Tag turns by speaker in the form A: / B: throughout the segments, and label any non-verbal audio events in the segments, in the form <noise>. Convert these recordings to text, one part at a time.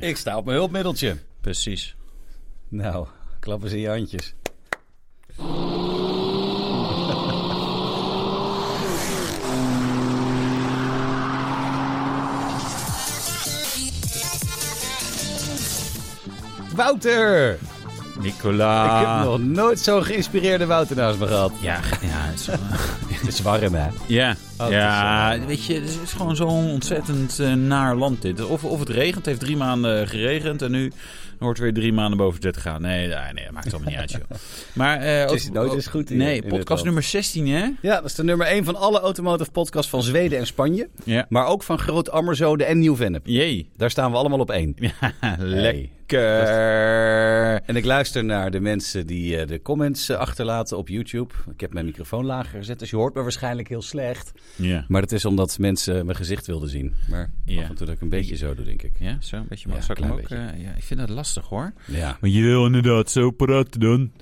A: Ik sta op mijn hulpmiddeltje.
B: Precies.
A: Nou, klappen ze in je handjes. Wouter! Ik
B: Nicola.
A: heb nog nooit zo'n geïnspireerde Wouter naast me gehad.
B: Ja, <laughs> ge- ja. Het is,
A: <laughs>
B: Oh,
A: Het is warm, hè?
B: ja,
A: het
B: ja eh, weet je, het is gewoon zo'n ontzettend eh, naar land dit. Of, of het regent, het heeft drie maanden geregend en nu wordt weer drie maanden boven 30 gaan. Nee, nee, nee, maakt het allemaal niet uit,
A: <laughs>
B: joh. Maar, eh,
A: is
B: ook-
A: nooit
B: ook-
A: eens goed in- in
B: Nee,
A: dit
B: podcast
A: land.
B: nummer 16, hè?
A: Ja, dat is de nummer 1 van alle automotive podcasts van Zweden en Spanje.
B: Ja.
A: Maar ook van Groot Ammerzode en Nieuw-Vennep.
B: Jee. <laughs>
A: Daar staan we allemaal op één.
B: Ja,
A: Hey.
B: lekker.
A: En ik luister naar de mensen die eh, de comments eh, achterlaten op YouTube. Ik heb mijn microfoon lager gezet, dus je hoort me waarschijnlijk heel slecht.
B: Ja.
A: Maar dat is omdat mensen mijn gezicht wilden zien. Maar
B: Ja.
A: af en toe dat ik een beetje zo doe, denk ik.
B: Ja, zo een beetje. Maar
A: Ja,
B: zou ik hem
A: klein
B: ook... eh, ja, ik vind dat lastig, hoor.
A: Ja.
B: Maar je wil inderdaad zo praten dan.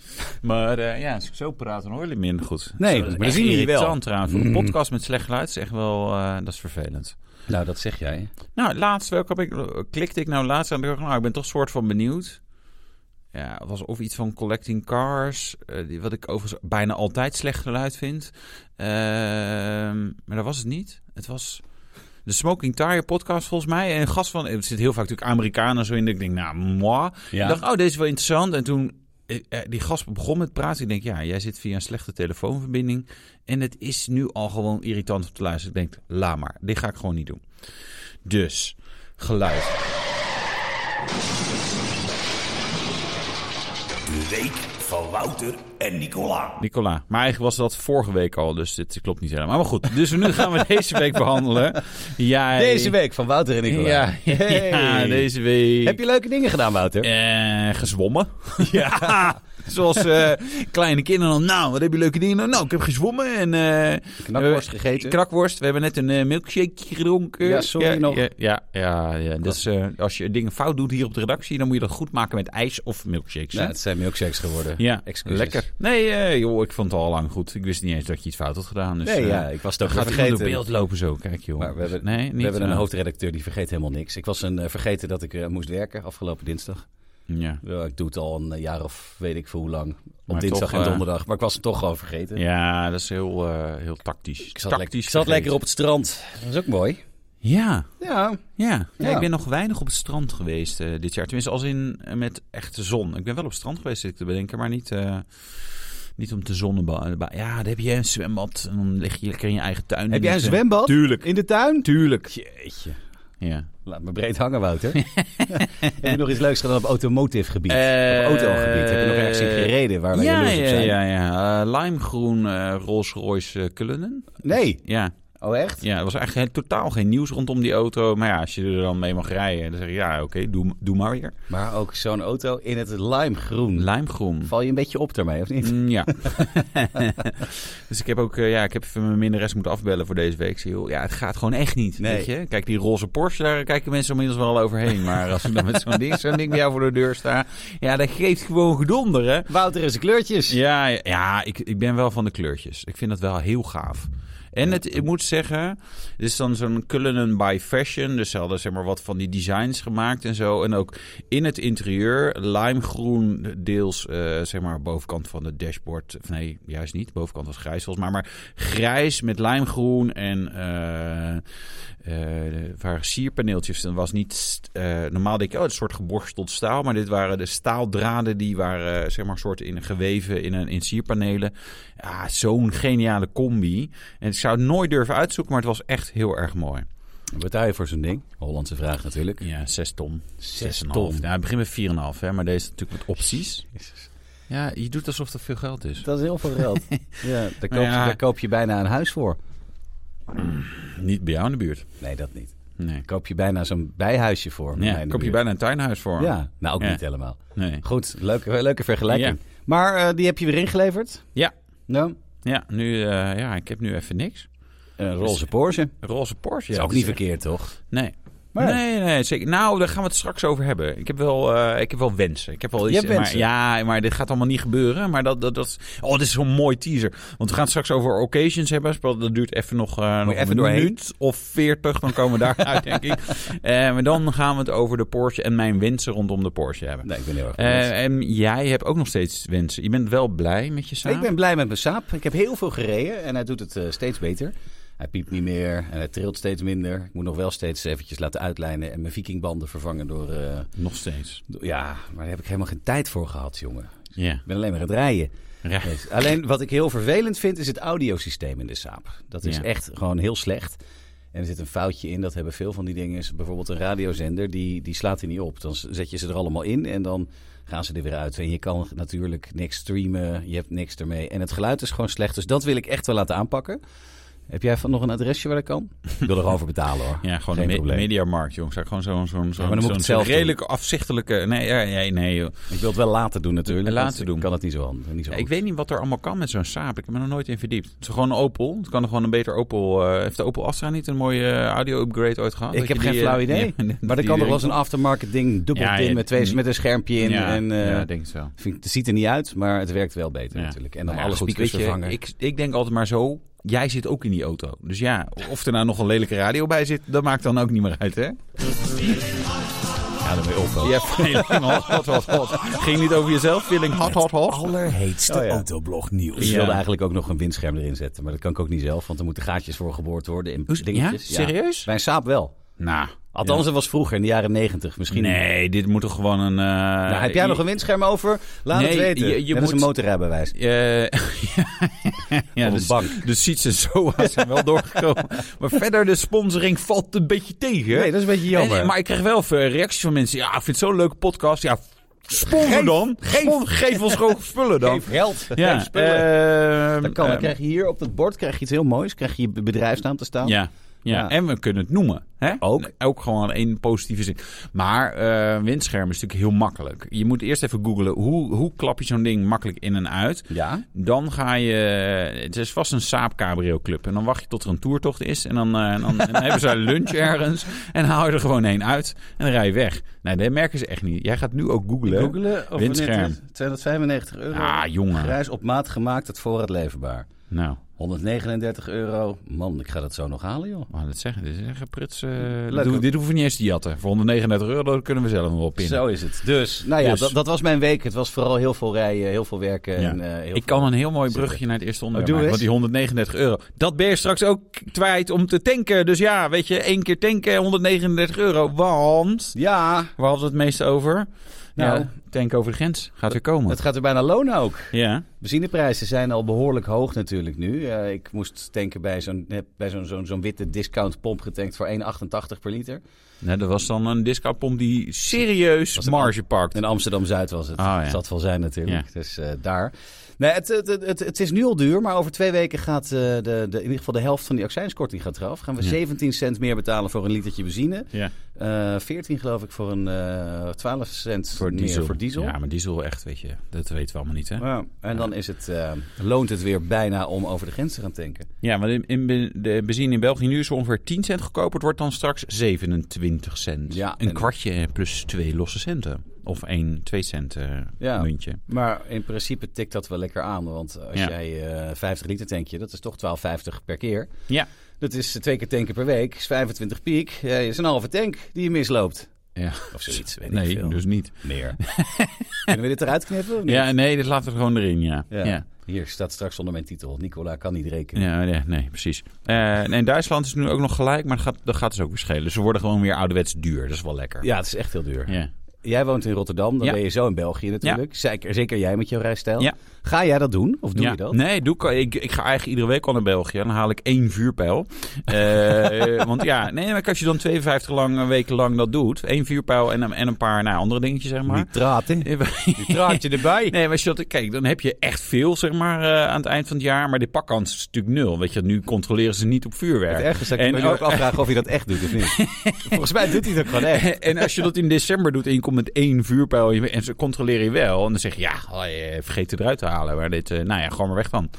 B: Maar eh, ja, als ik zo praat, dan hoor je het minder goed.
A: Nee,
B: dat is
A: maar dat
B: echt
A: zie je wel.
B: irritant trouwens. Voor Een podcast met slecht geluid is echt wel... eh, dat is vervelend.
A: Nou, dat zeg jij.
B: Nou, laatst, welke heb ik, klikte ik nou laatst aan? dacht ik, Nou, ik ben toch soort van benieuwd. Ja, het was of iets van Collecting Cars. eh, die, wat ik overigens bijna altijd slecht geluid vind. Ehm, maar dat was het niet. Het was de Smoking Tire podcast volgens mij. En een gast van... Er zit heel vaak natuurlijk Amerikanen zo in. Ik denk, nou, moi.
A: Ja.
B: Ik dacht, oh, deze is wel interessant. En toen eh, eh, die gast begon met praten. Ik denk, ja, jij zit via een slechte telefoonverbinding. En het is nu al gewoon irritant om te luisteren. Ik denk, la maar, dit ga ik gewoon niet doen. Dus, geluid.
C: De week van Wouter en Nicola.
B: Nicola, maar eigenlijk was dat vorige week al, dus dit klopt niet helemaal. Maar goed, dus nu gaan we <laughs> deze week behandelen. Jij...
A: Deze week van Wouter en Nicola.
B: <laughs> Ja,
A: Hey.
B: ja, deze week.
A: Heb je leuke dingen gedaan, Wouter?
B: Eh,
A: <laughs>
B: gezwommen. Ja. <laughs> Zoals eh, kleine kinderen dan. Nou, wat heb je leuke dingen? gedaan? Nou, ik heb gezwommen en... eh,
A: Knakworst
B: we-
A: gegeten?
B: Knakworst. We hebben net een eh, milkshake gedronken.
A: Ja, sorry
B: ja,
A: nog.
B: Ja, ja, ja, ja. Dus eh, als je dingen fout doet hier op de redactie, dan moet je dat goed maken met ijs of milkshakes. hè?
A: Ja, Nou, het zijn milkshakes geworden.
B: ja,
A: excuses.
B: lekker. Nee, eh, joh, ik vond het al lang goed. Ik wist niet eens dat je iets fout had gedaan. Dus,
A: Nee,
B: eh,
A: ja, ik was het ook
B: dan
A: weer
B: gaat iemand door
A: vergeten.
B: beeld lopen zo. Kijk, joh.
A: Maar we hebben,
B: nee,
A: we
B: niet,
A: hebben een
B: eh,
A: hoofdredacteur die vergeet helemaal niks. Ik was een, eh, vergeten dat ik eh, moest werken afgelopen dinsdag.
B: Ja.
A: Ja, ik doe het al een eh, jaar of weet ik veel hoe lang. Op
B: Maar
A: dinsdag
B: toch,
A: en
B: eh,
A: donderdag. Maar ik was hem toch gewoon vergeten.
B: ja, dat is heel, eh, heel tactisch.
A: Ik
B: tactisch
A: zat, lekker, ik zat
B: vergeten.
A: lekker op het strand. Dat is ook mooi.
B: Ja.
A: Ja.
B: Ja. Ja,
A: Ja.
B: ik ben nog weinig op het strand geweest eh, dit jaar. Tenminste, als in eh, met echte zon. Ik ben wel op het strand geweest, zit ik te bedenken, maar niet, eh, niet om te zonnen. ba- ba- Ja, dan heb je een zwembad en dan lig je lekker in je eigen tuin.
A: Heb jij een
B: Dus, eh,
A: zwembad?
B: Tuurlijk.
A: In de tuin?
B: Tuurlijk.
A: Jeetje.
B: Ja.
A: Laat me breed hangen, Wouter.
B: <laughs>
A: heb je nog iets leuks gedaan op automotive gebied? op autogebied. Heb je nog ergens in gereden waar wij
B: Eh, ja,
A: jaloers op
B: ja,
A: zijn?
B: ja, ja. Eh, limegroen eh Rolls Royce eh, Cullinan.
A: Nee.
B: Ja.
A: Oh, echt?
B: ja, er was eigenlijk he- totaal geen nieuws rondom die auto. Maar ja, als je er dan mee mag rijden, dan zeg je ja, oké, doe, doe maar weer.
A: Maar ook zo'n auto in het limegroen.
B: Limegroen.
A: Val je een beetje op daarmee, of niet?
B: Mm,
A: <laughs>
B: ja. <laughs> dus ik heb ook eh, ja, ik heb even mijn minderes moeten afbellen voor deze week. Ik zei, joh, ja, het gaat gewoon echt niet.
A: Nee.
B: Weet je? Kijk, die roze Porsche, daar kijken mensen inmiddels wel al overheen. Maar als we dan met zo'n ding, zo'n ding bij jou voor de deur staan, ja, dat geeft gewoon gedonder, hè?
A: Wouter is de kleurtjes.
B: Ja, ja, ja ik, ik ben wel van de kleurtjes. Ik vind dat wel heel gaaf. En het, ik moet zeggen, het is dan zo'n Cullinan by Fashion. Dus ze hadden zeg maar wat van die designs gemaakt en zo. En ook in het interieur, limegroen deels, eh, zeg maar bovenkant van het dashboard. Of nee, juist niet. Bovenkant was grijs volgens mij. Maar grijs met limegroen en eh eh, er waren sierpaneeltjes. Dat was niet, st- eh, normaal denk je, oh, het is een soort geborsteld staal. Maar dit waren de staaldraden die waren, eh, zeg maar, soort in, geweven in, een, in sierpanelen. Ja, zo'n geniale combi. En ik zou het nooit durven uitzoeken, maar het was echt heel erg mooi.
A: Wat betaal je voor zo'n ding? Hollandse vraag natuurlijk.
B: Ja, zes ton.
A: Zes
B: en een
A: ton.
B: half. Ja, het begint met 4,5, hè, maar deze natuurlijk met opties. Ja, je doet alsof dat veel geld is.
A: Dat is heel veel <laughs> geld. ja, daar, koop je,
B: Nou ja.
A: daar koop je bijna een huis voor.
B: Niet bij jou in de buurt.
A: Nee, dat niet.
B: Nee.
A: Daar koop je bijna zo'n bijhuisje voor. bij mij
B: Ja,
A: in de
B: koop je
A: buurt.
B: bijna een tuinhuis voor.
A: Ja, nou ook
B: Ja.
A: niet helemaal.
B: Nee.
A: Goed, leuke, leuke vergelijking. Maar eh, die heb je weer ingeleverd?
B: Ja.
A: Nou,
B: Ja, nu, eh, ja, ik heb nu even niks.
A: een roze Porsche.
B: Een roze Porsche.
A: is
B: ja, dus-
A: ook
B: dat
A: niet
B: is echt-
A: verkeerd, toch?
B: Nee.
A: Maar ja,
B: Nee, nee, zeker. Nou, daar gaan we het straks over hebben. Ik heb wel, eh, ik heb wel wensen. Ik heb wel
A: Je
B: iets,
A: hebt
B: maar-
A: wensen?
B: ja, maar dit gaat allemaal niet gebeuren. Maar dat, dat, dat is... Oh, dit is zo'n mooi teaser. Want we gaan het straks over occasions hebben. Spel- Dat duurt even nog, eh, nog
A: even
B: een
A: doorheen?
B: minuut of veertig. Dan komen we daaruit, denk
A: <laughs>
B: ik. Eh, Maar dan gaan we het over de Porsche en mijn wensen rondom de Porsche hebben.
A: nee, ik ben heel erg blij.
B: Eh, en jij hebt ook nog steeds wensen. Je bent wel blij met je zaak?
A: Ik ben blij met mijn saap. Ik heb heel veel gereden en hij doet het eh, steeds beter. Hij piept niet meer en hij trilt steeds minder. Ik moet nog wel steeds eventjes laten uitlijnen en mijn vikingbanden vervangen door... eh,
B: Nog steeds.
A: door- ja, maar daar heb ik helemaal geen tijd voor gehad, jongen.
B: Ja.
A: Ik ben alleen maar aan het rijden.
B: Ja.
A: Dus, alleen wat ik heel vervelend vind is het audiosysteem in de Saab. Dat is
B: Ja.
A: echt gewoon heel slecht. En er zit een foutje in, dat hebben veel van die dingen. Is bijvoorbeeld een radiozender, die, die slaat hij niet op. Dan z- zet je ze er allemaal in en dan gaan ze er weer uit. En je kan natuurlijk niks streamen, je hebt niks ermee. En het geluid is gewoon slecht, dus dat wil ik echt wel laten aanpakken. Heb jij van nog een adresje waar dat kan? Ik wil er gewoon voor betalen <laughs> hoor.
B: Ja, gewoon
A: Geen
B: een me
A: probleem.
B: mediamarkt, jongens. Gewoon zo'n zo'n zo'n
A: maar dan moet
B: zo'n
A: ik het zelf doen.
B: redelijk afzichtelijke... Nee, ja, nee, nee joh.
A: Ik wil het wel later doen natuurlijk.
B: Later
A: want ik
B: doen.
A: kan het niet zo hand. Niet zo
B: Ja,
A: goed.
B: ik weet niet wat er allemaal kan met zo'n Saab. Ik heb me er nog nooit in verdiept. Het is gewoon een Opel. Het kan er gewoon een beter Opel... eh, heeft de Opel Astra niet een mooie eh, audio-upgrade ooit gehad?
A: Ik
B: Dat
A: heb
B: je
A: geen
B: die, eh,
A: flauw idee.
B: <laughs> die- die-
A: Maar er
B: die
A: kan er
B: erin
A: wel eens een aftermarket ding dubbel
B: Ja,
A: in
B: ja,
A: met, twee,
B: die-
A: met een schermpje in.
B: Ja,
A: en, eh,
B: ja, ik denk het wel.
A: vind ik, het ziet er niet uit, maar het werkt wel beter
B: Ja.
A: natuurlijk. En dan
B: Nou ja,
A: alle
B: goed,
A: speakers
B: weet je,
A: vervangen.
B: Ik, ik denk altijd maar zo... Jij zit ook in die auto. Dus ja, of er nou nog een lelijke radio bij zit, dat maakt dan ook niet meer uit, hè?
A: ga ermee op.
B: Ja,
A: <laughs>
B: feeling hot, hot, hot, hot. Ging niet over jezelf, feeling hot, hot, hot.
C: Allerheetste
A: Oh ja.
C: autoblog nieuws.
A: Ik
B: Ja.
A: wilde eigenlijk ook nog een windscherm erin zetten, maar dat kan ik ook niet zelf, want er moeten gaatjes voor geboord worden in
B: Hoe-
A: dingetjes.
B: ja? Serieus?
A: Bij een Saab wel.
B: Nou,
A: Althans, dat was vroeger in de jaren negentig misschien.
B: nee, dit moet toch gewoon een... eh,
A: Nou, heb jij nog een windscherm over? Laat
B: Nee,
A: het weten.
B: je- je
A: Net als
B: moet-
A: een motorrijbewijs.
B: Eh, <laughs> ja,
A: een
B: dus,
A: bank.
B: dus ziet ze zo <laughs> zijn wel doorgekomen. maar verder, de sponsoring valt een beetje tegen.
A: Nee, dat is een beetje jammer.
B: En- maar ik kreeg wel veel reacties van mensen. Ja, ik vind het zo'n leuke podcast. Ja, sponsor
A: Geef,
B: dan.
A: geef.
B: Spon- geef ons
A: <laughs>
B: gewoon spullen dan.
A: Geef geld.
B: ja,
A: Geef spullen.
B: ehm,
A: dan eh, kan, dan
B: ehm,
A: krijg je hier op het bord krijg je iets heel moois. Krijg je je bedrijfsnaam te staan.
B: ja, ja.
A: Ja.
B: en we kunnen het noemen. Hè?
A: Ook.
B: Ook gewoon één positieve zin. Maar eh windscherm is natuurlijk heel makkelijk. Je moet eerst even googlen. Hoe, hoe klap je zo'n ding makkelijk in en uit?
A: Ja.
B: Dan ga je... Het is vast een Saab Cabrio Club. En dan wacht je tot er een toertocht is. En dan, eh, en dan, en dan hebben ze
A: <laughs>
B: een lunch ergens. En dan haal je er gewoon één uit. En dan rij je weg. Nee, dat merken ze echt niet. Jij gaat nu ook googlen.
A: Googelen of
B: Windscherm.
A: net is? 295 euro.
B: Ah, jongen.
A: Grijs op maat gemaakt, het voorraad leverbaar.
B: Nou,
A: 139 euro. Man, ik ga dat zo nog halen, joh.
B: wat dat zeggen. Dit is echt een pruts... eh, dit, hoef- dit hoeven we niet eens te jatten. Voor 139 euro dat kunnen we zelf nog wel pinnen.
A: Zo is het. Dus, nou ja,
B: Dus.
A: Dat, dat was mijn week. Het was vooral heel veel rijden, heel veel werken.
B: Ja.
A: En, eh, heel
B: Ik
A: veel-
B: kan een heel mooi brugje naar het eerste onderwerp
A: Oh, doe
B: maken. Want
A: eens.
B: die 139 euro, dat ben je straks ook kwijt om te tanken. Dus ja, weet je, één keer tanken, 139 euro. Want,
A: Ja,
B: waar hadden we het meest over? Nou,
A: Nou.
B: tanken over de grens gaat weer komen.
A: het gaat er bijna lonen ook.
B: ja,
A: Benzineprijzen zijn al behoorlijk hoog natuurlijk nu. Eh, ik moest tanken bij zo'n heb bij zo'n zo'n zo'n witte discountpomp getankt voor 1,88 per liter.
B: nou, dat was dan een discountpomp die serieus
A: Was een-
B: marge pakt.
A: In Amsterdam-Zuid was het.
B: Ah, ja.
A: Dat zal het wel zijn natuurlijk. Dus eh, daar. Nee, het, het, het, het- het is nu al duur, maar over twee weken gaat eh, de, de, in ieder geval de helft van die accijnskorting gaat eraf. Gaan we
B: Ja.
A: 17 cent meer betalen voor een litertje benzine.
B: Ja,
A: Eh 14 geloof ik voor een eh 12 cent meer voor diesel.
B: Ja, maar diesel echt, weet je, dat weten we allemaal niet, hè?
A: Ja, en dan is het, eh, loont het weer bijna om over de grens te gaan tanken.
B: Ja, maar in, in be- de benzine in België nu is ongeveer 10 cent goedkoper. Het wordt dan straks 27 cent.
A: Ja,
B: een
A: en-
B: kwartje plus twee losse centen. Of één, twee cent eh,
A: Ja.
B: muntje.
A: Maar in principe tikt dat wel lekker aan. Want als
B: Ja.
A: jij eh 50 liter tankje, dat is toch 12,50 per keer.
B: Ja.
A: Dat is eh, twee keer tanken per week, is 25 piek. Ja, is een halve tank die je misloopt.
B: ja.
A: Of zoiets, weet ik
B: Nee,
A: veel.
B: dus niet. <laughs>
A: Meer. Kunnen we dit eruit knippen? of niet?
B: Ja, nee, dit laten we gewoon erin, ja. Ja,
A: Ja.
B: ja.
A: Hier staat straks onder mijn titel. Nicola kan niet rekenen.
B: nee, nee, precies. Eh, en in Duitsland is het nu ook nog gelijk, maar dat gaat, dat gaat dus ook weer schelen. Ze worden gewoon weer ouderwets duur. Dat is wel lekker.
A: Ja, het is echt heel duur.
B: Ja.
A: Jij woont in Rotterdam, dan
B: Ja.
A: ben je zo in België natuurlijk. Zeker, zeker jij met jouw rijstijl.
B: Ja.
A: Ga jij dat doen? Of doe
B: Ja.
A: je dat?
B: Nee, doe ik, al. ik, ik ga eigenlijk iedere week al naar België. Dan haal ik één vuurpijl. Eh, want ja, nee, maar als je dan 52 lang, een weken lang dat doet. één vuurpijl en, een- en een paar nou, andere dingetjes, zeg maar. <laughs>
A: Nitraten. Nitraatje erbij.
B: Nee, maar als je dat, kijk, dan heb je echt veel zeg maar, eh, aan het eind van het jaar. Maar de pakkans is natuurlijk nul. Weet je, nu controleren ze niet op vuurwerk.
A: Het ergste is dat ik
B: En
A: me nu ook
B: ook- <laughs>
A: afvraag of je dat echt doet of niet. Volgens mij doet hij dat gewoon echt.
B: en als je dat in december doet en je komt komt met één vuurpijl in je- en ze controleren je wel. En dan zeg je, ja, oh, je vergeet het eruit te halen. Maar dit, eh, nou ja, gewoon maar weg
A: <laughs>
B: dan.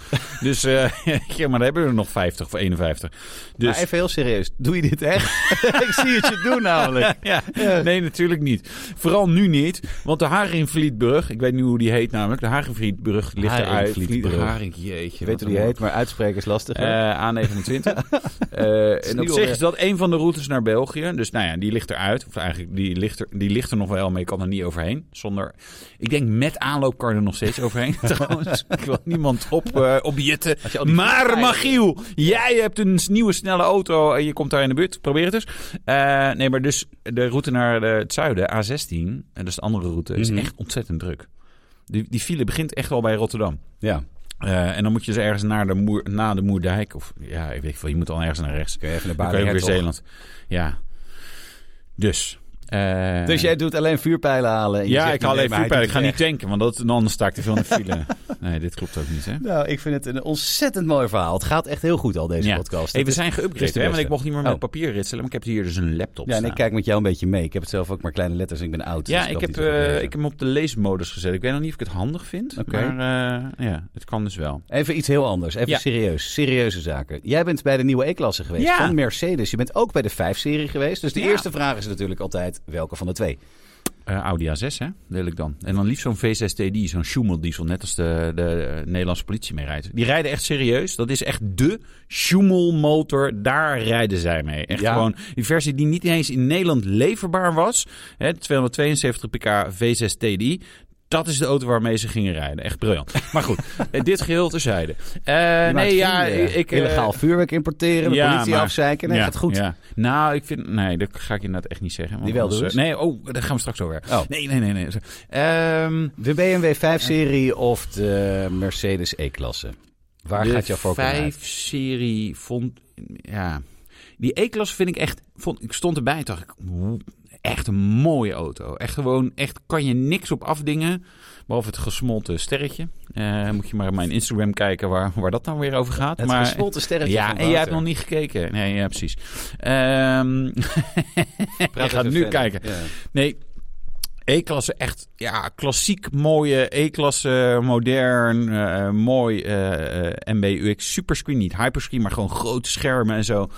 B: dus, eh, <laughs> ja, maar dan hebben we er nog 50 of 51. Dus,
A: Maar even heel serieus. Doe je dit echt? <laughs> ik zie het je doen namelijk.
B: <laughs> ja, nee, natuurlijk niet. Vooral nu niet, want de Haringvlietbrug, ik weet niet hoe die heet namelijk, de Haringvlietbrug ligt eruit.
A: Haringvlietbrug.
B: Vliet- Haring, jeetje.
A: Je weet
B: wat
A: hoe die
B: een
A: heet, maar uitspreken is lastig. hè?
B: eh,
A: <laughs>
B: A29. Eh, en op
A: nieuw,
B: zich
A: hè?
B: is dat een van de routes naar België. Dus nou ja, die ligt eruit. Of eigenlijk, die ligt er, die ligt er nog wel, maar je kan er niet overheen. Zonder, ik denk met aanloop kan je er nog steeds overheen. <laughs> Trouwens, ik wil niemand op, eh opjetten.
A: Als je al die
B: Maar
A: vliegtuigen-
B: Magiel, jij hebt een s- nieuwe snelle auto en je komt daar in de buurt. Probeer het eens. Eh, nee, maar dus de route naar eh, het zuiden, A16, en dat is de andere route,
A: Mhm.
B: is echt ontzettend druk. Die, die file begint echt al bij Rotterdam.
A: ja,
B: Eh, en dan moet je dus ergens naar de, Moer, na de Moerdijk. Of ja, ik weet veel. Je moet dan ergens naar rechts.
A: kun je even naar
B: Dan kun je ook weer
A: Bali
B: Zeeland. Ja. Dus. eh,
A: Dus jij doet alleen vuurpijlen halen. en je
B: ja,
A: zegt
B: ik
A: niet,
B: haal
A: nee,
B: even
A: maar hij
B: vuurpijl. Ik ga
A: doet
B: niet tanken, want dat, anders sta ik te veel in de file. <laughs> nee, dit klopt ook niet, hè?
A: het echt. Nou, ik vind het een ontzettend mooi verhaal. Het gaat echt heel goed al, deze
B: Ja. Hey,
A: podcast.
B: we
A: Het is-
B: zijn
A: is de
B: geüpgraded, hè? Want
A: beste.
B: ik mocht niet meer met
A: Oh.
B: papier ritselen. Maar ik heb hier dus een laptop
A: Ja, en
B: staan.
A: ik kijk met jou een beetje mee. Ik heb het zelf ook maar kleine letters en ik ben oud.
B: Ja,
A: dus
B: ik
A: kan
B: heb,
A: het niet zo goed
B: eh,
A: lezen.
B: ik heb hem op de leesmodus gezet. Ik weet nog niet of ik het handig vind.
A: Oké.
B: Maar eh, ja, het kan dus wel.
A: Even iets heel anders. Even
B: Ja.
A: serieus. Serieuze zaken. Jij bent bij de nieuwe E-klasse geweest
B: Ja.
A: van Mercedes. Je bent ook bij de 5-serie geweest. Dus de
B: Ja.
A: eerste vraag is natuurlijk altijd welke van de twee.
B: Eh, Audi A6, hè, wil ik dan. En dan liefst zo'n V6TD, zo'n Schumel-diesel, net als de, de eh, Nederlandse politie mee rijdt. Die rijden echt serieus. Dat is echt de Schumel-motor. Daar rijden zij mee. Echt
A: Ja.
B: gewoon die versie die niet eens in Nederland leverbaar was. Hè, 272 pk V6TD. Dat is de auto waarmee ze gingen rijden. Echt briljant. Maar
A: <laughs>
B: goed, eh, dit geheel terzijde. Eh,
A: Je maakt
B: nee, ja,
A: vrienden.
B: ik... ik, eh,
A: Illegaal vuurwerk importeren, de
B: ja,
A: politie
B: maar-
A: afzeiken. Nee, gaat goed.
B: ja. Nou, ik vind... Nee, dat ga ik inderdaad echt niet zeggen. want
A: Die wel
B: anders,
A: dus?
B: eh, Nee, oh, daar gaan we straks over.
A: Oh.
B: Nee, nee, nee. nee. Ehm,
A: De BMW 5-serie of de Mercedes E-klasse? Waar
B: de
A: gaat jouw voorkeur naar uit?
B: 5-serie vond... Ja. Die E-klasse vind ik echt... Vond, ik stond erbij en dacht ik... "Woe, Echt een mooie auto. Echt gewoon... Echt kan je niks op afdingen. Behalve het gesmolten sterretje. Eh, moet je maar op mijn Instagram kijken waar, waar dat nou weer over gaat.
A: Het
B: maar,
A: gesmolten sterretje
B: Ja,
A: van
B: en jij hebt
A: Wouter.
B: nog niet gekeken. Nee, ja, precies. Ehm <laughs>
A: Praat
B: ik ga
A: even
B: nu
A: verder.
B: kijken.
A: Ja.
B: Nee, E-klasse echt ja, klassiek mooie E-klasse, modern, eh, mooi eh, eh, MBUX. Superscreen, niet hyperscreen, maar gewoon grote schermen en zo.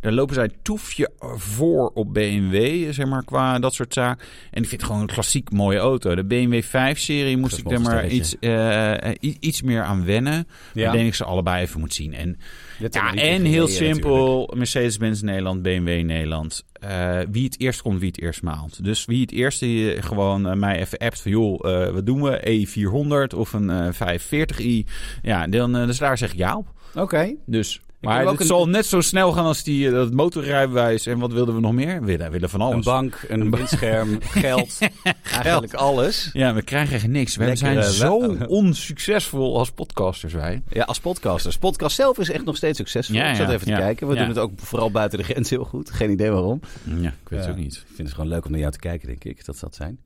B: Daar lopen zij toefje voor op BMW, zeg maar, qua dat soort zaken. En ik vind het gewoon een klassiek mooie auto. De BMW 5-serie moest ik
A: Gesmolten
B: er maar iets,
A: sterretje.
B: eh, eh, i- iets meer aan wennen.
A: Ja.
B: Ik denk ik ze allebei even moet zien. En
A: Dit
B: ja,
A: hebben we
B: en
A: niet gezien,
B: heel
A: ja,
B: simpel. Mercedes-Benz Nederland, BMW Nederland. Eh, wie het eerst komt, wie het eerst maalt. Dus wie het eerste eh, gewoon eh, mij even appt van... joh, eh, wat doen we? E400 of een eh, 540i. Ja, dan, eh, dus daar zeg ik ja op.
A: natuurlijk. Oké.
B: Dus...
A: heb
B: Maar
A: ook
B: het
A: een-
B: zal net zo snel gaan als die, eh, dat motorrijbewijs. En wat wilden we nog meer? We willen, willen van alles.
A: Een bank, een windscherm,
B: <laughs>
A: geld. Eigenlijk alles.
B: Ja, we krijgen echt niks. We
A: Lekkere
B: zijn zo
A: la-
B: onsuccesvol als podcasters wij.
A: Ja, als podcasters. Podcast zelf is echt nog steeds succesvol.
B: Ja,
A: Ik zat
B: ja,
A: even
B: ja.
A: te kijken. We
B: Ja.
A: doen het ook vooral buiten de grens heel goed. Geen idee waarom.
B: Ja, ik weet het
A: Ja.
B: ook niet.
A: Ik vind het gewoon leuk om naar jou te kijken, denk ik. Dat zal het zijn.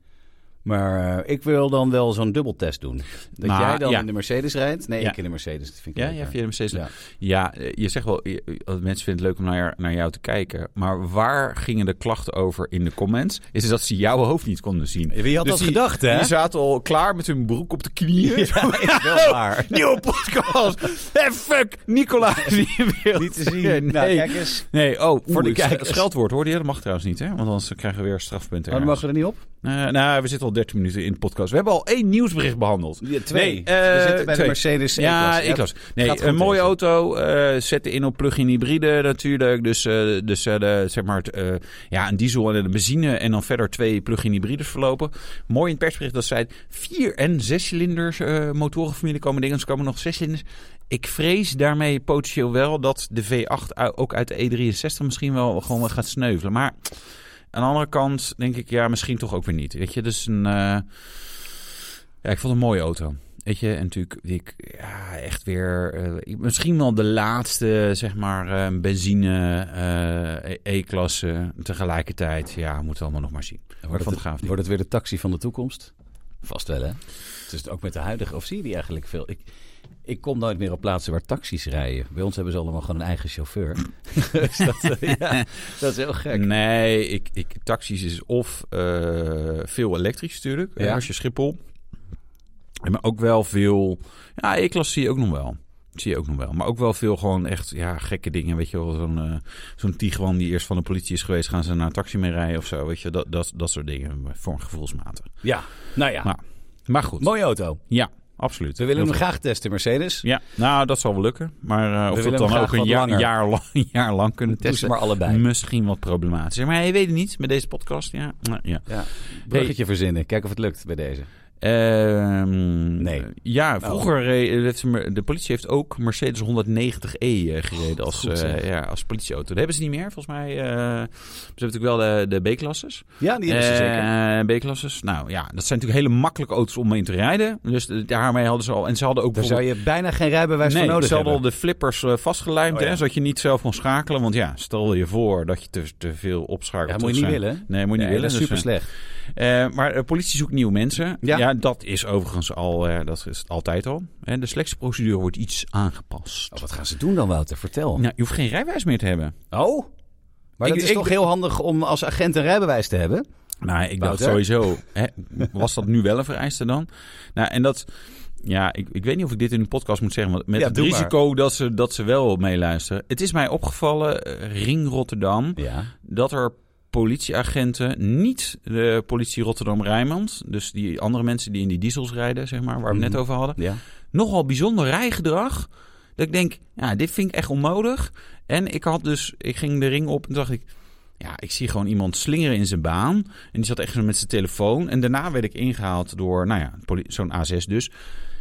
A: Maar eh, ik wil dan wel zo'n dubbeltest doen. Dat
B: Nou,
A: jij dan
B: ja.
A: in de Mercedes rijdt. Nee,
B: Ja.
A: ik in de Mercedes. Dat vind ik
B: Ja,
A: leuker.
B: ja, via de Mercedes.
A: Ja.
B: Ja, eh, je zegt wel, je- eh, mensen vinden het leuk om naar, naar jou te kijken. Maar waar gingen de klachten over in de comments? Is dat ze jouw hoofd niet konden zien.
A: Je had
B: Dus
A: dat
B: die-
A: gedacht, hè?
B: Die zaten al klaar met hun broek op de knieën. Oh,
A: Ja,
B: <laughs>
A: is wel waar.
B: Nieuwe
A: <laughs>
B: podcast. hey, fuck, Nicola is niet in beeld.
A: Niet te zien.
B: <laughs> Nee,
A: Nou, kijk eens.
B: nee oh, voor
A: de
B: de kijkers.
A: kijkers.
B: Scheldwoord, hoorde je? Dat mag trouwens niet, hè? Want anders krijgen we weer strafpunten.
A: Oh, dan
B: ergens.
A: mogen we er niet op?
B: Eh, nou, we zitten al 13 minuten in de podcast. We hebben al één nieuwsbericht behandeld.
A: Ja, twee.
B: Nee,
A: we
B: eh,
A: zitten bij
B: twee.
A: de Mercedes
B: Ja,
A: E-klasse.
B: ik las. Nee,
A: Gaat goed
B: een mooie
A: deze.
B: auto. eh zette in op plug-in hybride natuurlijk. Dus, eh, dus eh, de, zeg maar, het, eh, ja, een diesel en een benzine. En dan verder twee plug-in hybrides verlopen. Mooi in het persbericht dat zij vier en zescilinders eh motorenfamilie komen dingen. Ze komen nog zescilinders. Ik vrees daarmee potentieel wel dat de V8 u- ook uit de E63 misschien wel gewoon wel gaat sneuvelen. Maar aan de andere kant denk ik, ja, misschien toch ook weer niet. Weet je, dus een. eh, ja, ik vond het een mooie auto. Weet je, en natuurlijk, ik, ja, echt weer, eh, ik- misschien wel de laatste, zeg maar, eh, benzine eh, E- E-klasse tegelijkertijd. Ja, moeten we allemaal nog maar zien.
A: Wordt
B: Van
A: het,
B: de Graaf niet.
A: wordt het weer de taxi van de toekomst? Vast wel, hè? Het is het ook met de huidige. Of zie je die eigenlijk veel? Ik, Ik kom nooit meer op plaatsen waar taxis rijden. Bij ons hebben ze allemaal gewoon een eigen chauffeur. <laughs> Dus dat, <laughs> eh, ja, dat is heel gek.
B: Nee, ik, ik, taxis is of eh, veel elektrisch natuurlijk.
A: Ja.
B: Ja. Als je Schiphol. Ja, Maar ook wel veel... Ja, E-klas zie je ook nog wel. Zie je ook nog wel. Maar ook wel veel gewoon echt ja, gekke dingen. Weet je wel, zo'n eh zo'n Tiguan die eerst van de politie is geweest... gaan ze naar een taxi mee rijden of zo. Weet je, dat, dat, dat soort dingen. Voor gevoelsmatig.
A: Ja, nou ja.
B: Maar- Maar goed.
A: Mooie auto.
B: Ja, absoluut.
A: We willen
B: Heel
A: hem graag testen, Mercedes.
B: Ja, nou, dat zal wel lukken. Maar eh,
A: willen
B: of we
A: hem
B: het dan
A: graag
B: ook een
A: wat
B: jaar,
A: langer.
B: jaar, lang, <laughs> een jaar lang kunnen
A: Doe ze
B: testen.
A: maar allebei.
B: Misschien wat problematisch. Maar je weet het niet met deze podcast. Ja. Nou, ja.
A: Ja. Bruggetje verzinnen. Kijk of het lukt bij deze.
B: Ehm,
A: Nee. Oh.
B: Ja, vroeger reed- heeft ze mer- de politie heeft ook Mercedes 190e eh, gereden als,
A: goed zeg.
B: eh, ja, als politieauto. Dat hebben ze niet meer, volgens mij. eh, ze hebben natuurlijk wel de, de B-klasses.
A: Ja, die hebben ze zeker.
B: Eh, B-klasses. Nou ja, dat zijn natuurlijk hele makkelijke auto's om in te rijden. Dus eh, daarmee hadden ze al... En ze hadden ook
A: Daar zou je bijna geen rijbewijs
B: nee,
A: voor nodig
B: ze hadden
A: hebben.
B: al de flippers eh, vastgelijmd,
A: Oh, ja.
B: hè, zodat je niet zelf kon schakelen. Want ja, stel je voor dat je te, te veel opschakelt.
A: Ja,
B: Dat
A: moet je niet
B: zijn-
A: willen.
B: Nee, moet je niet willen.
A: dat
B: dus,
A: is super slecht.
B: eh, eh, maar de politie zoekt nieuwe mensen.
A: Ja.
B: Ja, dat is overigens al, eh, dat is altijd al. En de selectieprocedure wordt iets aangepast.
A: Oh, wat gaan ze doen dan, Wouter? Vertel.
B: Nou, je hoeft geen rijwijs meer te hebben.
A: Oh? Maar
B: Ik-
A: dat is
B: ik-
A: toch heel handig om als agent een rijbewijs te hebben?
B: Nou, ik dacht
A: Wouter?
B: sowieso. Hè, was dat nu wel een vereiste dan? Nou, en dat. Ja, ik, ik weet niet of ik dit in de podcast moet zeggen. Want met
A: Ja,
B: het
A: doe maar.
B: risico dat ze, dat ze wel meeluisteren. Het is mij opgevallen, eh, Ring Rotterdam.
A: Ja.
B: dat er politieagenten, niet de politie Rotterdam-Rijnmond, dus die andere mensen die in die diesels rijden, zeg maar, waar we het net over hadden,
A: ja.
B: nogal bijzonder rijgedrag. Dat ik denk, ja, dit vind ik echt onnodig. En ik had dus, ik ging de ring op en dacht ik, ja, ik zie gewoon iemand slingeren in zijn baan. En die zat echt zo met zijn telefoon. En daarna werd ik ingehaald door, nou ja, poli- zo'n A6 dus.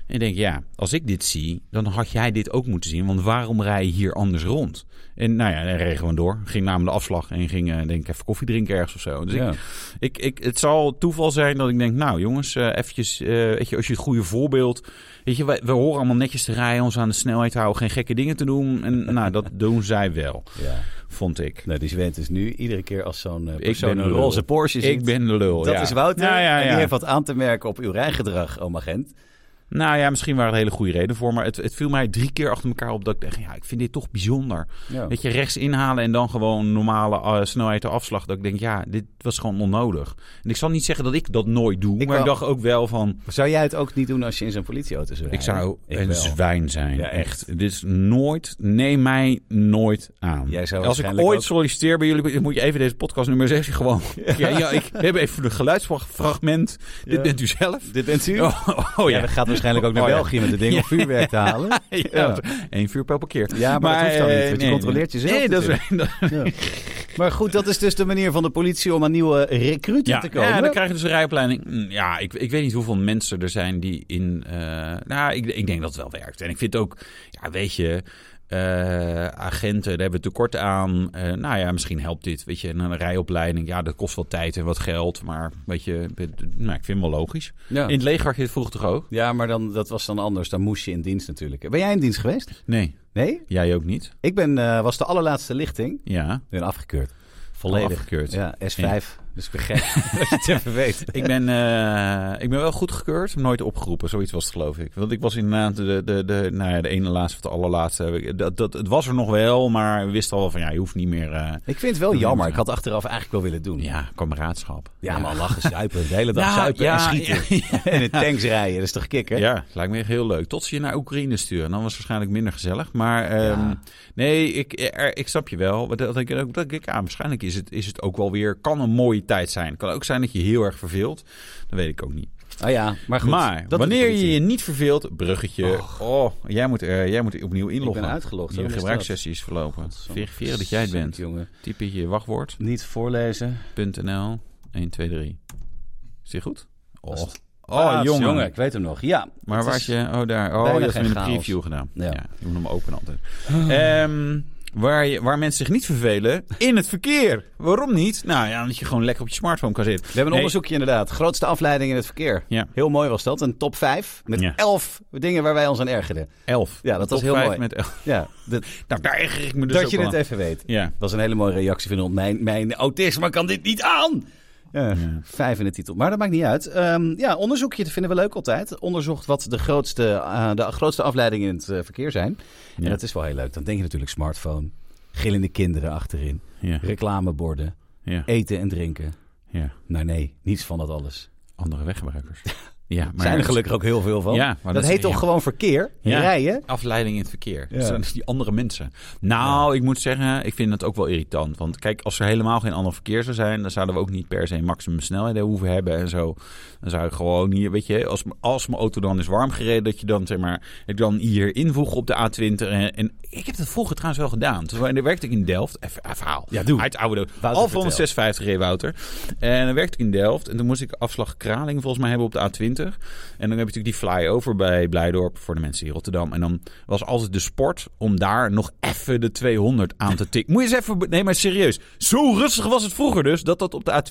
B: En ik denk, ja, als ik dit zie, dan had jij dit ook moeten zien. Want waarom rij je hier anders rond? En nou ja, hij reed gewoon door. Ging namelijk de afslag en ging, eh, denk ik, even koffie drinken ergens of zo. Dus ik,
A: Ja.
B: ik, ik, het zal toeval zijn dat ik denk, nou jongens, eh eventjes, eh, weet je, als je het goede voorbeeld... Weet je, wij, we horen allemaal netjes te rijden, ons aan de snelheid houden, geen gekke dingen te doen. En <laughs> nou, dat doen zij wel,
A: ja.
B: vond ik.
A: Nou, die Zwent is nu iedere keer als zo'n eh,
B: Ik
A: persoon
B: ben
A: een
B: de lul.
A: roze Porsche ziet.
B: Ik ben de lul,
A: Dat
B: ja.
A: is Wouter.
B: Nou ja,
A: En die
B: ja.
A: heeft wat aan te merken op uw rijgedrag, oom agent.
B: Nou ja, misschien waren er hele goede reden voor, maar het, het viel mij drie keer achter elkaar op dat ik dacht, ja, ik vind dit toch bijzonder.
A: Ja.
B: Weet je, rechts inhalen en dan gewoon normale eh, snelheid de afslag. Dat ik denk, ja, dit was gewoon onnodig. En ik zal niet zeggen dat ik dat nooit doe,
A: Ik
B: maar ik
A: wel.
B: dacht ook wel van...
A: Zou jij het ook niet doen als je in zo'n politieauto zou
B: Ik
A: rijden?
B: zou
A: Ik
B: een
A: wel.
B: zwijn zijn.
A: Ja, echt.
B: echt. Dit is nooit. Neem mij nooit aan.
A: Jij
B: Als
A: zou
B: ik
A: waarschijnlijk
B: ooit
A: ook-
B: solliciteer bij jullie, moet je even deze podcast nummer 6
A: <laughs>
B: gewoon. Ja. Ja, ik heb even een geluidsfragment.
A: Ja.
B: Dit bent u zelf.
A: Dit bent u?
B: Oh, oh
A: ja.
B: ja.
A: dat gaat waarschijnlijk ook naar
B: Oh, <laughs> ja.
A: België met het ding om vuurwerk te halen.
B: <laughs> Ja. Eén vuurpijl per keer.
A: Ja, maar, dat hoeft dan niet,
B: eh,
A: want je
B: nee,
A: controleert
B: nee.
A: jezelf
B: Nee, dat
A: natuurlijk.
B: is... <laughs> dat-
A: Maar goed, dat is dus de manier van de politie om aan nieuwe recruten
B: Ja,
A: te komen.
B: ja, dan krijg je dus een rijopleiding. Mm, Ja, ik, ik weet niet hoeveel mensen er zijn die in... eh, nou, ik, ik denk dat het wel werkt. En ik vind ook, ja, weet je... eh, agenten, daar hebben we tekort aan. Eh, nou ja, misschien helpt dit. Weet je, en een rijopleiding, ja, dat kost wel tijd en wat geld. Maar weet je, dit- nou, ik vind hem wel logisch.
A: Ja.
B: In het leger had je het vroeg toch ook?
A: Ja, maar dan, dat was dan anders. Dan moest je in dienst natuurlijk. Ben jij in dienst geweest?
B: Nee.
A: Nee?
B: Jij ook niet?
A: Ik ben, eh, was de allerlaatste lichting.
B: Ja.
A: Ik ben afgekeurd. Volledig.
B: Afgekeurd.
A: Ja, S5. Dus ik ben gek. <laughs> Als je het even weet.
B: Ik ben, eh, ik ben wel goed gekeurd, maar nooit opgeroepen. Zoiets was het, geloof ik. Want ik was inderdaad de, de, de, nou ja, de ene laatste of de allerlaatste. heb ik- Dat, dat, het was er nog wel, maar we wisten al wel van ja, je hoeft niet meer. eh,
A: Ik vind het wel jammer. Ik had achteraf eigenlijk wel willen doen.
B: ja, kameraadschap.
A: Ja, Nou, maar lachen, zuipen. De hele dag
B: Ja,
A: zuipen en
B: ja,
A: schieten. <laughs> en in tanks rijden. Dat is toch kikker?
B: Ja, het lijkt me echt heel leuk. Tot ze je naar Oekraïne sturen. Dan was het waarschijnlijk minder gezellig. Maar ehm, nee, ik, er- ik snap je wel. Want Dat, dat, ik- dat ik, ja, waarschijnlijk is het, is het ook wel weer... Kan een mooie tijd zijn. Kan ook zijn dat je heel erg verveelt. Dat weet ik ook niet.
A: Oh ja, maar goed.
B: maar
A: dat
B: wanneer
A: doet de
B: je je
A: politie.
B: niet verveelt, bruggetje. Oh, jij, moet, eh, jij moet opnieuw inloggen.
A: ben uitgelogd, hoor.
B: Je
A: Wat is
B: gebruikssessie is verlopen. Verifiëren dat jij het bent.
A: Jongen.
B: Typ in je wachtwoord.
A: Niet voorlezen.
B: .nl 1, 2, 3. Is dit goed? Oh,
A: het-
B: oh jongen.
A: Ik weet hem nog. Ja.
B: Maar
A: het
B: waar
A: is-
B: is je... Oh, daar. Oh,
A: bijna
B: je hebt hem in
A: geen
B: de
A: chaos.
B: preview gedaan.
A: Ja.
B: Ja. je moet hem openen altijd. <sighs> Ehm, waar, je, waar mensen zich niet vervelen, in het verkeer. Waarom niet? Nou ja, omdat je gewoon lekker op je smartphone kan zitten.
A: We hebben een onderzoekje inderdaad. Grootste afleiding in het verkeer.
B: Ja.
A: Heel mooi was dat. Een top 5 met
B: Ja.
A: 11 dingen waar wij ons aan ergerden.
B: 11.
A: Ja, dat was heel mooi.
B: Met elf. <laughs>
A: Ja, <laughs> dat,
B: Nou, daar erger ik me dus
A: dat
B: ook
A: je
B: al
A: het
B: aan.
A: even weet.
B: Ja.
A: Dat was een hele mooie reactie van iemand. Mijn, mijn autisme kan dit niet aan. Ja, Vijf in de titel. Maar dat maakt niet uit. Ehm, ja, onderzoekje dat vinden we leuk altijd. Onderzocht wat de grootste, eh, de grootste afleidingen in het eh, verkeer zijn. En
B: Ja.
A: dat is wel heel leuk. Dan denk je natuurlijk smartphone, gillende kinderen achterin,
B: Ja,
A: reclameborden,
B: ja,
A: eten en drinken.
B: ja.
A: Nou nee, niets van dat alles.
B: Andere <laughs> weggebruikers. Ja, maar
A: zijn er gelukkig ook heel veel van.
B: Ja, maar
A: dat,
B: dat is-
A: heet toch
B: ja.
A: gewoon verkeer?
B: Ja.
A: Rijden?
B: Afleiding in het verkeer.
A: Ja.
B: Dat zijn dus die andere mensen. Nou, ik moet zeggen, ik vind het ook wel irritant. Want kijk, als er helemaal geen ander verkeer zou zijn... dan zouden we ook niet per se maximum snelheden hoeven hebben en zo. Dan zou ik gewoon hier, weet je... als, m- als mijn auto dan is warm gereden... dat je dan, zeg maar, ik dan hier invoeg op de A20. En, en ik heb dat vroeger trouwens wel gedaan. Toen wa- daar werkte ik in Delft. Even een verhaal.
A: Ja, doe.
B: Uit oude...
A: Wouter,
B: Al van 56 reed Wouter. En dan werkte ik in Delft. En toen moest ik afslag Kraling volgens mij hebben op de A20. En dan heb je natuurlijk die flyover bij Blijdorp voor de mensen hier in Rotterdam. En dan was altijd de sport om daar nog even de 200 aan te tikken. Moet je eens even... be- Nee, maar serieus. Zo rustig was het vroeger dus, dat dat op de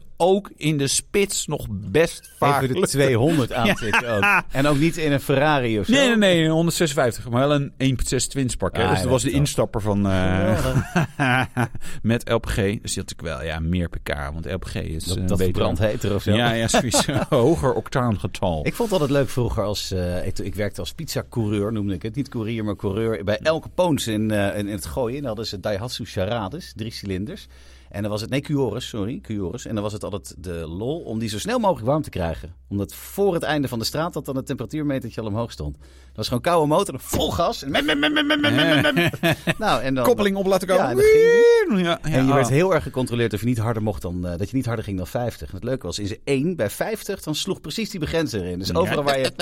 B: A20 ook in de spits nog best vaak...
A: Even de
B: lukte. <laughs>
A: 200 aanzitten ook. En ook niet in een Ferrari of zo.
B: Nee, nee, nee, een 156. Maar wel een 1.6 Twinspark. hè.
A: Ah,
B: dus
A: ja,
B: dat was
A: dat
B: de
A: wel.
B: instapper van... eh,
A: Ja,
B: <laughs> met LPG. Dus die had ik wel, ja, meer pk. Want LPG is eh,
A: dat
B: beter.
A: dat verbrandt heter of zo.
B: Ja, ja, <laughs> sowieso. Hoger octaangetal.
A: Ik vond het altijd leuk vroeger als eh, ik, ik werkte als pizzacoureur, noemde ik het. Niet courier, maar coureur. Bij elke poons in, eh, in, in het gooien dan hadden ze Daihatsu Charades, drie cilinders. En dan was het, nee, Cuores, sorry, Cuores. En dan was het altijd de lol om die zo snel mogelijk warm te krijgen. Omdat voor het einde van de straat dat dan het temperatuurmetertje al omhoog stond. Dat was gewoon koude motor, dan vol gas. En mem, mem, mem, mem, mem, mem, mem, mem. <laughs> Nou, en dan,
B: Koppeling op laten komen.
A: Ja, en dat ging
B: Wien! ja, ja,
A: en je
B: ah.
A: werd heel erg gecontroleerd of je niet harder mocht dan, eh, dat je niet harder ging dan 50. En het leuke was, in ze 1 bij 50, dan sloeg precies die begrens erin. Dus overal waar <laughs> je...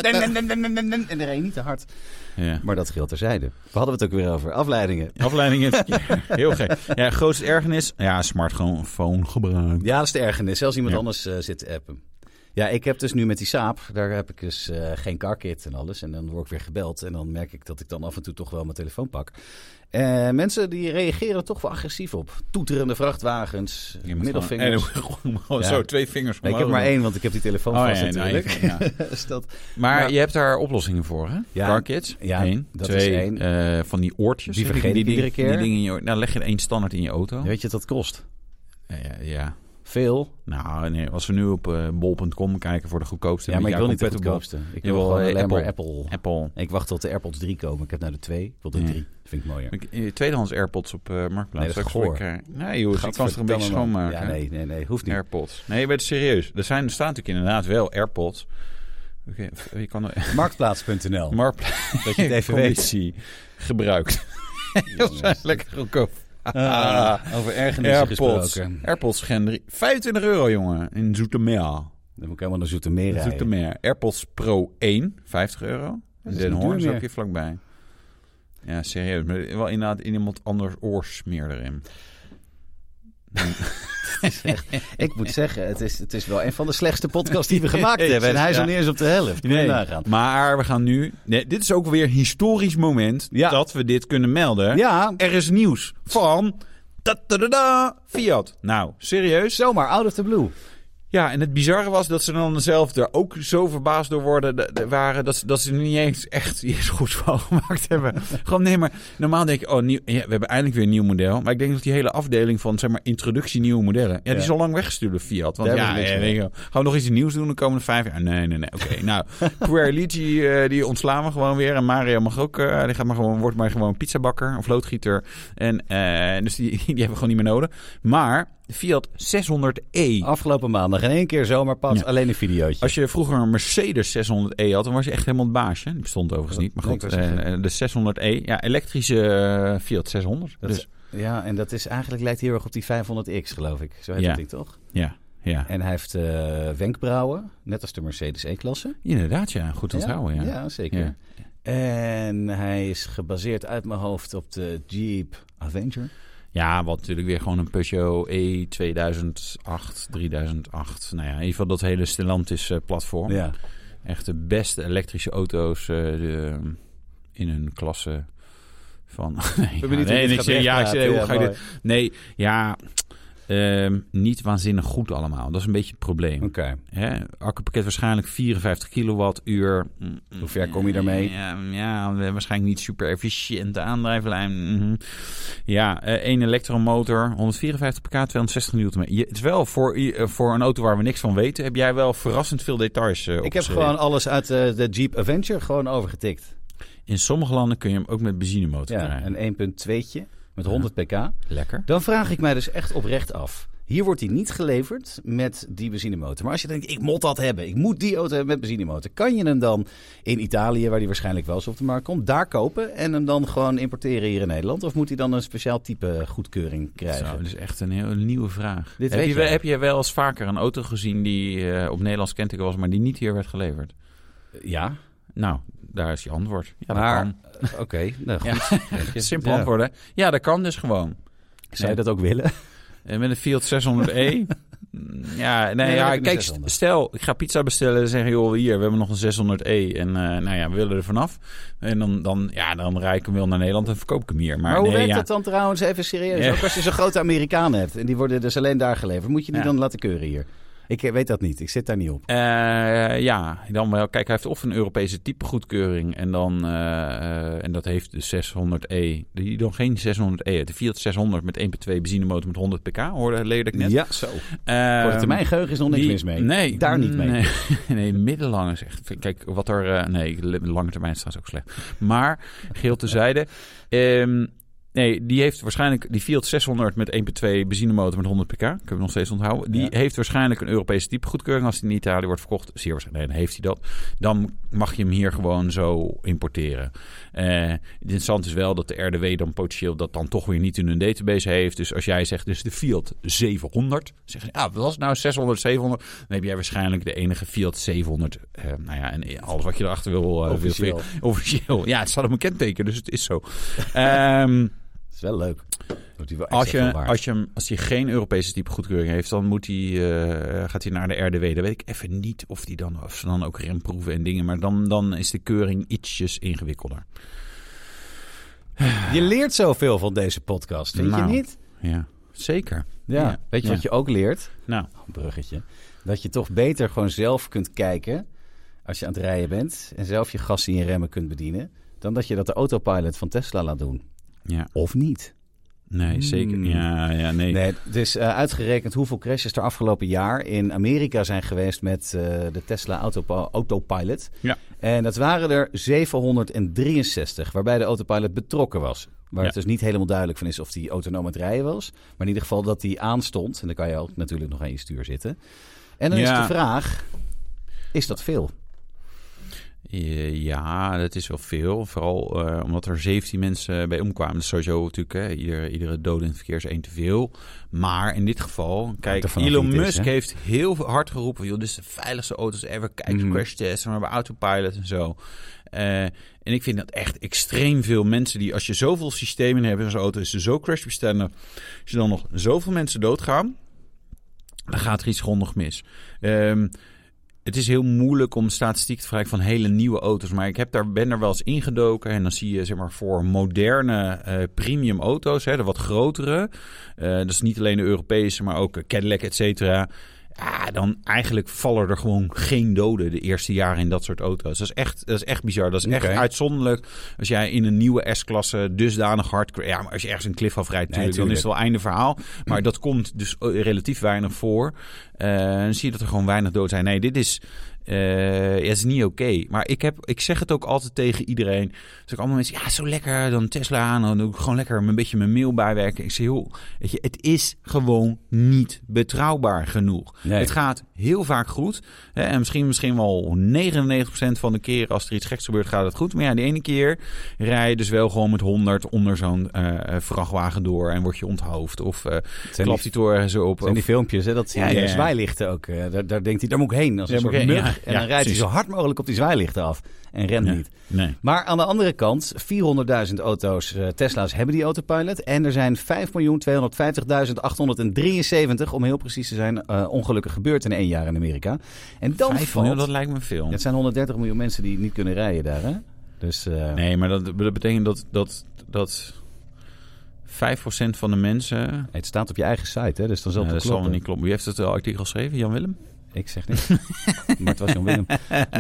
A: En er één niet te hard.
B: Ja.
A: Maar dat geldt terzijde. We hadden het ook weer over afleidingen.
B: Afleiding in het
A: <laughs>
B: verkeer. Heel gek. Ja, grootste ergernis? Ja, smartphone gebruik.
A: Ja, dat is de ergernis. Zelfs iemand
B: Ja.
A: anders eh, zit te appen. Ja, ik heb dus nu met die saap, daar heb ik dus eh, geen carkit en alles. En dan word ik weer gebeld en dan merk ik dat ik dan af en toe toch wel mijn telefoon pak. Eh, mensen die reageren er toch wel agressief op. Toeterende vrachtwagens,
B: Je moet
A: middelvingers.
B: gewoon- en dan gewoon
A: Ja.
B: Zo, twee vingers
A: Nee, ik heb
B: omhoog.
A: maar één, want ik heb die telefoon
B: Oh,
A: vast
B: ja, nou,
A: natuurlijk.
B: één, <laughs> ja.
A: <laughs> Dus dat,
B: Maar
A: Ja.
B: je hebt daar oplossingen voor, hè?
A: Ja.
B: Car Kids.
A: Ja,
B: Eén.
A: dat
B: twee,
A: is één.
B: eh, van die oortjes.
A: Die
B: hè,
A: vergeet ik
B: ding-
A: iedere keer.
B: Die dingen in je oor- Nou, leg je er één standaard in je auto.
A: Weet je wat dat kost?
B: Ja, ja, ja.
A: Veel.
B: Nou, nee, als we nu op eh, bol.com kijken voor de goedkoopste.
A: Ja, maar
B: met
A: ik wil niet de
B: Jacob Pettenbol-
A: goedkoopste. Ik wil
B: Jawel,
A: gewoon
B: eh,
A: alleen maar
B: Apple.
A: Apple.
B: Apple.
A: Ik wacht tot de AirPods 3 komen. Ik heb nou de 2. Ik wil de
B: Ja.
A: 3. Dat vind ik mooier.
B: Ik- eh, Tweedehands AirPods op eh Marktplaats.
A: Nee, dat is
B: Straks
A: goor.
B: wil ik, eh, Nee, joh, ik kan ze er een beetje
A: Gadverdamme, man.
B: schoonmaken.
A: Ja, nee, nee, nee. Hoeft niet.
B: AirPods. Nee, je bent serieus. Er, zijn, er staan natuurlijk inderdaad wel AirPods. Oké, je kan er...
A: Marktplaats.nl.
B: <laughs> Marktplaats
A: dat je het even weet.
B: conditie gebruikt. <laughs> Dat zijn lekker goedkoop.
A: Ah, over ergernissen
B: AirPods.
A: gesproken.
B: AirPods Gen 3. 25 euro, jongen. In Zoetermeer.
A: Dan moet ik helemaal naar Zoetermeer rijden.
B: Zoetermeer. AirPods Pro 1. 50 euro.
A: is
B: In Den
A: niet duur
B: Hoorn is
A: meer.
B: ook hier vlakbij. Ja, serieus. Maar wel inderdaad in iemand anders oorsmeer erin.
A: Ik moet zeggen, het is, het is wel een van de slechtste podcasts
B: <laughs>
A: die we gemaakt hebben. En hij is al
B: Ja.
A: niet eens op de helft. Moet je nagaan.
B: Maar we gaan nu... Nee, dit is ook weer een historisch moment
A: Ja.
B: dat we dit kunnen melden.
A: Ja,
B: Er is nieuws van... ta-ta-da-da, Fiat. Nou, serieus?
A: zomaar out of the blue.
B: Ja, en het bizarre was dat ze dan zelf daar ook zo verbaasd door worden, de- de- waren dat, ze- dat ze er niet eens echt <laughs> iets goeds van gemaakt hebben. Gewoon nee, maar normaal denk je, oh, nieuw, ja, we hebben eindelijk weer een nieuw model. Maar ik denk dat die hele afdeling van, zeg maar, introductie nieuwe modellen, ja, die
A: Ja.
B: is al lang weggestuurd door Fiat. Want
A: Daar
B: ja,
A: hebben ze
B: ja,
A: niks
B: weet je wel, gaan we nog iets nieuws doen de komende vijf jaar? Nee, nee, nee. Oké,
A: <laughs>
B: nou, Puerlici, eh, die ontslaan we gewoon weer. En Mario mag ook, eh, die gaat maar gewoon, wordt maar gewoon pizzabakker of loodgieter. En eh, dus die, <laughs> die hebben we gewoon niet meer nodig. Maar de Fiat E. 600e.
A: Afgelopen maandag in één keer zomaar pas.
B: Ja.
A: Alleen een videootje.
B: Als je vroeger een Mercedes 600e had, dan was je echt helemaal het baasje. Die bestond overigens niet, maar
A: Nee,
B: goed.
A: ik wou zeggen.
B: eh, de 600e, ja, elektrische eh, Fiat 600.
A: Dat
B: dus
A: is- Ja, en dat is eigenlijk lijkt heel erg op die 500X, geloof ik. Zo heet
B: Ja.
A: dat ding toch?
B: ja, ja.
A: En hij heeft eh, wenkbrauwen, net als de Mercedes E-klasse.
B: Inderdaad, ja. Goed onthouden, ja. ja.
A: zeker.
B: Ja.
A: En hij is gebaseerd uit mijn hoofd op de Jeep Avenger.
B: wat natuurlijk weer gewoon een Peugeot E 2008, 3008. Nou ja, in ieder geval dat hele Stellantis eh, platform.
A: Ja.
B: Echt de beste elektrische auto's eh, de- in hun klasse van... <laughs> nee, ja,
A: benieuwd hoe
B: nee,
A: dit
B: ik
A: gaat
B: zeg- ja, ik
A: wegpraten.
B: zeg, hoe
A: Ja,
B: ga ik dit...
A: mooi.
B: Nee, ja, ehm, niet waanzinnig goed allemaal. Dat is een beetje het probleem.
A: Oké.
B: Hè? Accupakket waarschijnlijk 54 kilowattuur. Mm, mm,
A: Hoe ver kom je daarmee?
B: Ja, ja, we hebben waarschijnlijk niet super efficiënte aandrijflijn. Mhm. Ja, eh, één elektromotor, 154 pk, 260 Nm. Je- Het is wel voor, i- eh, voor een auto waar we niks van weten, heb jij wel verrassend veel details eh
A: Ik heb
B: opgeschreven.
A: gewoon alles uit eh, de Jeep Avenger gewoon overgetikt.
B: In sommige landen kun je hem ook met benzinemotor
A: Ja,
B: krijgen.
A: een 1.2'tje met 100 pk.
B: Lekker.
A: Dan vraag ik mij dus echt oprecht af. Hier wordt die niet geleverd met die benzinemotor. Maar als je denkt, ik moet dat hebben. Ik moet die auto hebben met benzinemotor. Kan je hem dan in Italië, waar die waarschijnlijk wel eens op de markt komt, daar kopen en hem dan gewoon importeren hier in Nederland? Of moet hij dan een speciaal type goedkeuring krijgen?
B: Zo, dat is echt een heel nieuwe vraag.
A: Dit
B: heb, je,
A: weet je
B: wel-
A: al.
B: heb je wel eens vaker een auto gezien die eh, op Nederlands kenteken was, maar die niet hier werd geleverd?
A: Ja,
B: Nou, daar is je antwoord. Ja,
A: maar
B: dat kan.
A: oké. nou,
B: Ja.
A: goed. Weet je.
B: Simpel
A: Ja.
B: antwoorden. Ja, dat kan dus gewoon.
A: Zou je dat ook willen?
B: En met een Fiat <laughs> 600e? Mm, ja, nee,
A: Nee,
B: ja
A: heb ik een
B: kijk,
A: 600.
B: stel, ik ga pizza bestellen en zeggen, joh, hier, we hebben nog een 600e. En eh, nou ja, we willen er vanaf. En dan, dan, ja, dan rijd ik hem wel naar Nederland en verkoop ik hem hier. Maar,
A: Maar, hoe
B: nee,
A: werkt
B: ja,
A: dat dan trouwens even serieus?
B: Ja.
A: Ook als je zo'n grote Amerikaan hebt en die worden dus alleen daar geleverd, moet je die
B: Ja.
A: dan laten keuren hier? Ik eh, weet dat niet. Ik zit daar niet op.
B: Eh, ja, dan wel. Kijk, hij heeft of een Europese typegoedkeuring en dan, eh, eh, en dat heeft de 600e, die dan geen 600e, heeft. de Fiat 600 met 1.2 benzinemotor met 100 pk, hoorde leerde ik net.
A: Ja, zo.
B: Eh,
A: Korte termijn geheugen is nog niks
B: die-
A: mis mee.
B: Nee,
A: Daar niet mee.
B: Nee, <laughs> nee middellang is echt. Kijk, wat er. eh, nee, lange termijn staat ook slecht. Maar, geel tezijde. Ehm nee, die heeft waarschijnlijk. Die Fiat 600 met 1,2 benzinemotor met 100 pk. Ik heb hem nog steeds onthouden. Die
A: Ja.
B: heeft waarschijnlijk een Europese typegoedkeuring. Als die in Italië wordt verkocht. Zeer waarschijnlijk. Nee, dan heeft hij dat. Dan mag je hem hier gewoon zo importeren. Eh, het interessante is wel dat de RDW dan potentieel dat dan toch weer niet in hun database heeft. Dus als jij zegt, dus de Fiat 700, zeggen ze, ah, wat was het nou 600, 700? Dan heb jij waarschijnlijk de enige Fiat 700. eh, nou ja, en alles wat je erachter wil. eh,
A: Officieel.
B: Wil, officieel. Ja, het staat op een kenteken, dus het is
A: <laughs>
B: zo. Ehm
A: Dat is wel leuk. Doet hij wel echt
B: als
A: heel
B: je,
A: waar.
B: als, je, hem- als hij geen Europese type goedkeuring heeft, dan moet hij, eh, gaat hij naar de RDW. Dan weet ik even niet of, die dan, of ze dan ook remproeven en dingen. Maar dan, dan is de keuring ietsjes ingewikkelder.
A: Je leert zoveel van deze podcast, vind
B: Nou,
A: je niet?
B: Ja, zeker.
A: Ja.
B: ja.
A: Weet je
B: Ja.
A: wat je ook leert?
B: Nou,
A: Oh, een bruggetje. Dat je toch beter gewoon zelf kunt kijken als je aan het rijden bent en zelf je gas in je remmen kunt bedienen, dan dat je dat de autopilot van Tesla laat doen.
B: ja.
A: Of niet.
B: Nee, zeker. Ja, ja, nee.
A: Hmm. Nee, het is eh, uitgerekend hoeveel crashes er afgelopen jaar in Amerika zijn geweest met eh, de Tesla autopa- Autopilot.
B: Ja.
A: En dat waren er 763, waarbij de autopilot betrokken was. Waar
B: Ja.
A: het dus niet helemaal duidelijk van is of die autonoom aan het rijden was. Maar in ieder geval dat die aanstond. En dan kan je ook natuurlijk nog aan je stuur zitten. En dan
B: Ja.
A: is de vraag, is dat veel?
B: Eh, Ja, dat is wel veel. Vooral eh, omdat er 17 mensen bij omkwamen. Dat is sowieso natuurlijk, hè, iedere, iedere dode in het verkeer is één te veel. Maar in dit geval, kijk,
A: er vanaf
B: Elon
A: wie het is,
B: Musk
A: hè?
B: heeft heel hard geroepen... joh, dit is de veiligste auto's ever. Kijk,
A: Mhm.
B: crash tests, we hebben autopilot en zo. Eh, en ik vind dat echt extreem veel mensen die... als je zoveel systemen hebt in zo'n auto, is ze zo crashbestendig... als je dan nog zoveel mensen doodgaan... dan gaat er iets grondig mis. Ehm, het is heel moeilijk om statistiek te vergelijken van hele nieuwe auto's. Maar ik heb daar, ben er wel eens ingedoken. En dan zie je zeg maar, voor moderne eh, premium auto's, hè, de wat grotere. eh, dat is niet alleen de Europese, maar ook eh, Cadillac, et cetera. Ja, dan eigenlijk vallen er gewoon geen doden de eerste jaren in dat soort auto's. Dat is echt, dat is echt bizar. Dat is echt
A: Oké.
B: uitzonderlijk. Als jij in een nieuwe S-klasse dusdanig hard... cra- Ja, maar als je ergens een cliff afrijdt,
A: Nee,
B: natuurlijk, dan is het wel einde verhaal. Maar dat komt dus eh, relatief weinig voor. Eh, dan zie je dat er gewoon weinig dood zijn. Nee, dit is, eh, ja, het is niet oké. Maar ik, heb, ik zeg het ook altijd tegen iedereen. Dus ik allemaal mensen, ja, zo lekker, dan Tesla aan. Dan doe ik gewoon lekker een beetje mijn mail bijwerken. Ik zeg, joh, weet je, het is gewoon niet betrouwbaar genoeg.
A: Nee.
B: Het gaat heel vaak goed. Hè, en misschien, misschien wel 99% van de keren als er iets geks gebeurt, gaat het goed. Maar ja, de ene keer rij je dus wel gewoon met 100 onder zo'n eh, eh, vrachtwagen door en word je onthoofd. Of eh,
A: die-
B: klapt die toren zo op.
A: En die
B: Of,
A: filmpjes, hè, dat zie je
B: Ja, ja,
A: die
B: ja.
A: zwaailichten ook. eh, daar, daar denkt hij, daar moet ik heen als een
B: Daar moet
A: soort
B: ik heen,
A: mug.
B: ja.
A: en
B: Ja,
A: dan rijdt hij
B: precies.
A: zo hard mogelijk op die zwaailichten af. En rent
B: Ja.
A: niet.
B: nee.
A: Maar aan de andere kant, 400.000 auto's, eh, Tesla's hebben die autopilot. En er zijn 5.250.873, om heel precies te zijn, eh, ongelukken gebeurd in één jaar in Amerika. En dan
B: Vijf
A: valt...
B: miljoen, dat lijkt me veel.
A: Het zijn 130 miljoen mensen die niet kunnen rijden daar, hè? Dus eh,
B: Nee, maar dat, dat betekent dat, dat, dat 5% van de mensen...
A: het staat op je eigen site, hè? Dus dan zal
B: Nou,
A: het
B: dat
A: wel
B: zal wel
A: kloppen. <laughs>
B: niet kloppen. Wie heeft het eh, artikel geschreven? Jan Willem?
A: Ik zeg niks. maar het was
B: <laughs>
A: Jan Willem. Maar,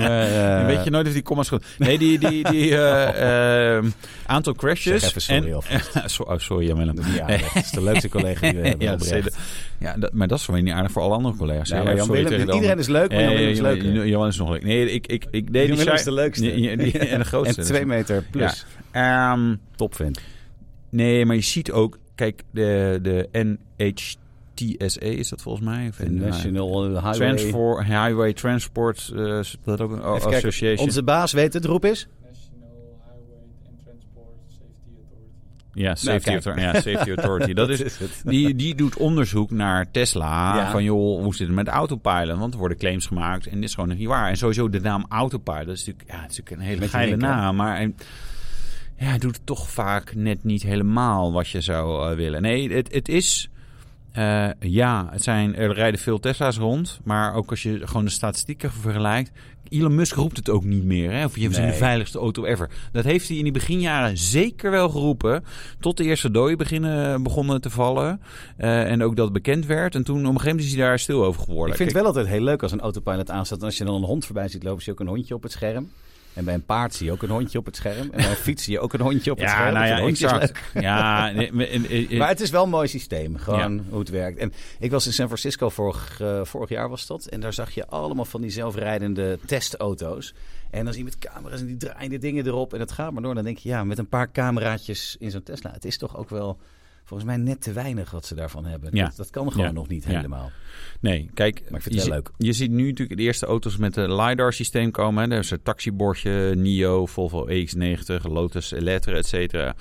A: eh,
B: Weet je nooit of die comma's goed... Nee, die, die, die
A: <laughs>
B: eh, eh, aantal crashes...
A: Zeg even sorry
B: en...
A: alvast.
B: <laughs> So- oh, sorry, Jan Willem.
A: ja, dat is de
B: <laughs>
A: leukste collega die eh, we hebben.
B: Ja, dat
A: oprecht.
B: zeiden- ja dat, maar dat is wel niet aardig voor alle andere collega's.
A: Ja,
B: Ja,
A: Nou, maar Jan
B: sorry
A: Willem,
B: tegen de
A: iedereen
B: andere-
A: is leuk, maar Jan
B: Eh,
A: Willem is leuker.
B: Jan Willem is nog leuk. Nee, ik, ik, ik deed
A: Jan
B: die
A: Willem is
B: site-
A: de leukste.
B: Ja, die- en de grootste.
A: <laughs> En twee meter plus.
B: Ja. Ehm,
A: Topfan.
B: nee, maar je ziet ook... Kijk, de, de NHTSA is dat volgens mij? Of
A: De National Highway.
B: Transport, Highway Transport, eh, is dat ook een o-
A: Even kijken,
B: association.
A: Onze baas weet het, roep is.
D: National Highway and Transport Safety Authority.
B: Ja, Safety,
A: Nou, kijk.
B: Authority, ja, Safety Authority.
A: <laughs>
B: Dat is, Nou,
A: het.
B: <laughs> die, die doet onderzoek naar Tesla.
A: Ja.
B: Van joh, hoe zit het met autopilot? Want er worden claims gemaakt en dit is gewoon niet waar. En sowieso de naam autopilot is natuurlijk, ja, het is natuurlijk een hele
A: Met je
B: geile
A: linker.
B: naam. Maar en, ja, het doet toch vaak net niet helemaal wat je zou eh, willen. Nee, het, het is... eh, ja, het zijn, er rijden veel Tesla's rond. Maar ook als je gewoon de statistieken vergelijkt... Elon Musk roept het ook niet meer. Hè? Of je zijn de
A: Nee.
B: veiligste auto ever. Dat heeft hij in die beginjaren zeker wel geroepen. Tot de eerste dooi beginnen, eh, begonnen te vallen. Eh, en ook dat bekend werd. En toen op een gegeven moment is hij daar stil over geworden.
A: Ik vind het
B: Kijk,
A: wel altijd heel leuk als een autopilot aanstaat. En als je dan een hond voorbij ziet lopen, zie je ook een hondje op het scherm. En bij een paard zie je ook een hondje op het scherm. En bij een fiets zie je ook een hondje op het
B: Ja,
A: scherm.
B: nou
A: Dus
B: ja,
A: een hondje is
B: exact.
A: leuk.
B: Ja, nee, maar- eh, en- en- en-
A: Maar het is wel een mooi systeem, gewoon hoe het werkt. En ik was in San Francisco vorig, eh, vorig jaar was dat. En daar zag je allemaal van die zelfrijdende testauto's. En dan zie je met camera's en die draaien de dingen erop. En het gaat maar door. Dan denk je, ja, met een paar cameraatjes in zo'n Tesla. Het is toch ook wel volgens mij net te weinig wat ze daarvan hebben.
B: Ja.
A: Dat, dat kan gewoon
B: Ja.
A: nog niet
B: Ja.
A: helemaal.
B: Nee, kijk.
A: Maar ik vind het
B: je,
A: wel
B: zie-
A: leuk.
B: Je ziet nu natuurlijk de eerste auto's met een LiDAR-systeem komen. Hè. Daar is een taxibordje, NIO, Volvo EX90, Lotus Elettra, et cetera.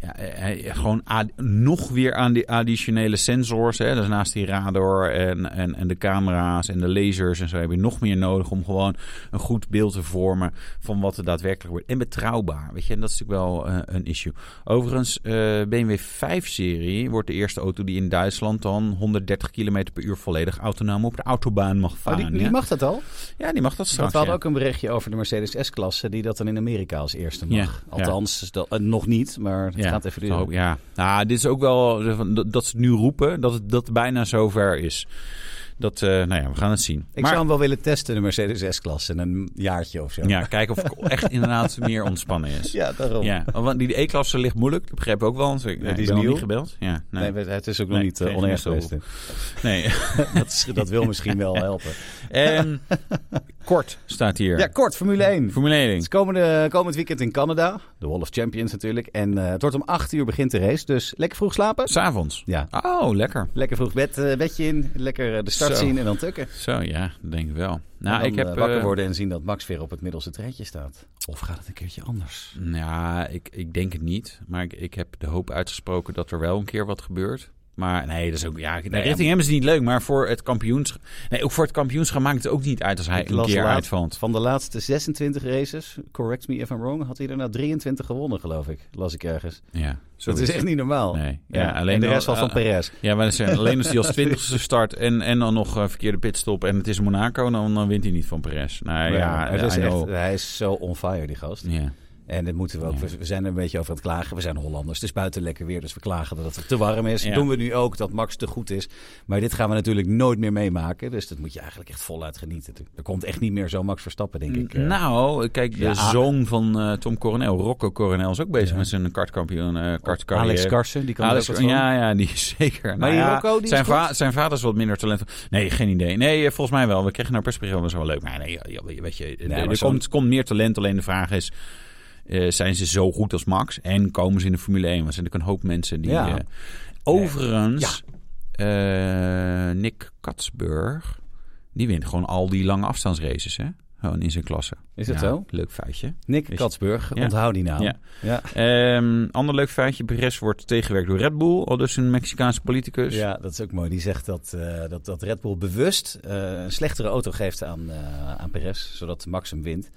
B: Ja, eh, eh, gewoon ad- nog weer aan die additionele sensors. Hè. Dus naast die radar en, en, en de camera's en de lasers en zo heb je nog meer nodig om gewoon een goed beeld te vormen van wat er daadwerkelijk wordt. En betrouwbaar, weet je. En dat is natuurlijk wel eh, een issue. Overigens, eh, BMW 5-serie wordt de eerste auto die in Duitsland dan 130 km per uur volledig autonoom op de autobaan mag
A: Oh,
B: varen.
A: die, die
B: Ah, ja.
A: mag dat al?
B: ja, die mag dat
A: Want
B: straks.
A: we hadden
B: ja.
A: ook een berichtje over de Mercedes S-klasse... die dat dan in Amerika als eerste mag.
B: Ja, ja.
A: Althans, dat, eh, nog niet, maar het
B: ja.
A: gaat even
B: zo,
A: duren.
B: Ja, nou, dit is ook wel eh, van dat- dat ze het nu roepen, dat het dat het bijna zover is. Dat, eh, nou ja, we gaan het zien.
A: Ik
B: Maar-
A: zou hem wel willen testen, de Mercedes S-klasse. in Een jaartje of zo.
B: ja, kijken of het echt inderdaad meer ontspannen is.
A: Ja, daarom.
B: Ja, Oh, want die E-klasse ligt moeilijk. Dat begrijp ik ook wel. want ik-
A: die
B: ik
A: is
B: ben nog
A: nieuw.
B: niet gebeld. Ja, nee.
A: Nee, we- het is ook
B: nou,
A: nog
B: Nee,
A: niet uh,
B: geen
A: oneerlijk
B: gemiste
A: geweest.
B: nee.
A: <laughs> dat, is- dat wil misschien wel helpen.
B: En kort staat hier.
A: Ja, kort, Formule 1.
B: Formule 1.
A: Het is komende, komend weekend in Canada. De Wall of Champions natuurlijk. En eh, het wordt om 8 uur begint de race. Dus lekker vroeg slapen.
B: S'avonds.
A: Ja,
B: Oh, lekker.
A: lekker vroeg bed, eh, bedje in. Lekker eh, de start
B: Zo.
A: zien en dan tukken.
B: Zo, ja, dat denk ik wel. Nou,
A: En dan,
B: ik heb...
A: eh, wakker
B: eh,
A: worden en zien dat Max weer op het middelste treintje staat. Of gaat het een keertje anders?
B: Ja, ik, ik denk het niet. Maar ik, ik heb de hoop uitgesproken dat er wel een keer wat gebeurt. Maar nee, dat is ook... Ja, nee, richting hem is het niet leuk. Maar voor het kampioenschap... Nee, ook voor het kampioenschap maakt het ook niet uit als hij
A: Ik
B: een
A: las
B: keer
A: laat-
B: uitvalt.
A: Van de laatste 26 races, correct me if I'm wrong, had hij er nou 23 gewonnen, geloof ik. Las ik ergens.
B: Ja,
A: Dat
B: zoiets.
A: is echt niet normaal.
B: Nee. Ja, alleen
A: en de
B: al-
A: rest was van
B: eh,
A: Perez.
B: Ja, maar dat zijn alleen als hij als twintigste start en, en dan nog eh, verkeerde pitstop en het is Monaco, dan, dan wint hij niet van Perez. Nee, ja,
A: het is
B: I
A: echt, eh,
B: know.
A: hij is zo on fire, die gast.
B: Ja.
A: En dat moeten we ook.
B: Ja.
A: We zijn er een beetje over aan het klagen. We zijn Hollanders. Het is buiten lekker weer, dus we klagen dat het te warm is.
B: Ja.
A: Doen we nu ook dat Max te goed is. Maar dit gaan we natuurlijk nooit meer meemaken. Dus dat moet je eigenlijk echt voluit genieten. Er komt echt niet meer zo Max Verstappen, denk ik. Eh,
B: Nou, kijk, de
A: Ja.
B: zoon van eh, Tom Coronel, Rocco Coronel, is ook bezig met zijn kartkampioen, eh kartcarrière.
A: Alex Karsen, die kan
B: Alex,
A: er ook wat van.
B: ja, ja, die is <laughs> zeker. Nou
A: die
B: ja,
A: Rocco, die
B: zijn,
A: is goed?
B: zijn vader is wat minder talentvol. Nee, geen idee. Nee, eh, volgens mij wel. We kregen naar persbericht wel zo wel leuk. Maar nee, ja, ja, weet je, eh,
A: maar
B: er
A: zo'n-
B: komt, komt meer talent. Alleen de vraag is, eh, zijn ze zo goed als Max? En komen ze in de Formule 1? Want er zijn natuurlijk een hoop mensen die...
A: Ja.
B: eh, overigens, eh, Nick Katsburg, die wint gewoon al die lange afstandsraces, hè? Gewoon in zijn klasse.
A: Is dat
B: Ja,
A: zo?
B: Leuk feitje.
A: Nick
B: Is-
A: Katsburg,
B: Ja.
A: onthoud die naam.
B: Ja.
A: Ja.
B: Ehm, ander leuk feitje. Perez wordt tegengewerkt door Red Bull. Al dus een Mexicaanse politicus.
A: Ja, dat is ook mooi. Die zegt dat, eh, dat, dat Red Bull bewust eh, een slechtere auto geeft aan, eh, aan Perez, zodat Max hem wint.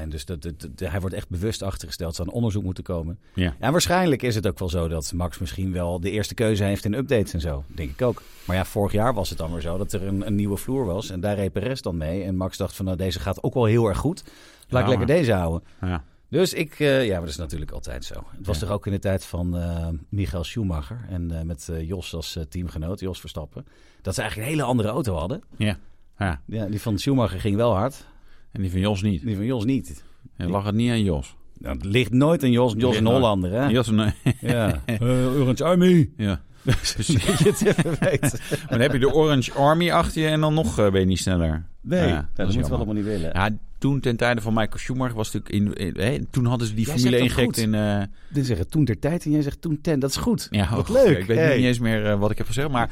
A: En dus dat, dat- dat- hij wordt echt bewust achtergesteld. Er zou een onderzoek moeten komen.
B: Ja.
A: En waarschijnlijk is het ook wel zo dat Max misschien wel de eerste keuze heeft in updates en zo. Denk ik ook. Maar ja, vorig jaar was het dan weer zo dat er een, een nieuwe vloer was. En daar reed Perez dan mee. En Max dacht van nou, deze gaat ook wel heel erg goed. Laat
B: Ja,
A: ik lekker
B: maar-
A: deze houden.
B: Ja.
A: Dus ik, eh, ja, maar dat is natuurlijk altijd zo. Het was
B: Ja.
A: toch ook in de tijd van eh Michael Schumacher en eh, met eh, Jos als eh, teamgenoot, Jos Verstappen, dat ze eigenlijk een hele andere auto hadden.
B: Ja. Ja,
A: Ja, die van Schumacher ging wel hard.
B: en die van Jos niet.
A: Die van Jos niet.
B: En lag het niet aan Jos.
A: Nou, het ligt nooit aan Jos. Jos is een
B: nooit. Eh,
A: Hollander, hè?
B: Jos, nee. <laughs>
A: Ja. Orange Army.
B: Ja. Precies.
A: <laughs> Dat je het even weet.
B: Maar dan heb je de Orange Army achter je en dan nog eh, ben je niet sneller.
A: Nee,
B: Ja,
A: dat,
B: dat is
A: moeten we
B: jammer.
A: allemaal niet willen.
B: Ja, toen ten tijde van Michael Schumacher was natuurlijk... In, in- hè, toen hadden ze die
A: Jij
B: Formule
A: zegt
B: 1
A: dat
B: gek in...
A: goed.
B: eh,
A: Dit zeggen toen ter tijd en jij zegt toen ten. Dat is goed.
B: ja,
A: Wat
B: oh,
A: leuk.
B: Ik weet
A: Hey.
B: niet eens meer eh, wat ik heb gezegd, maar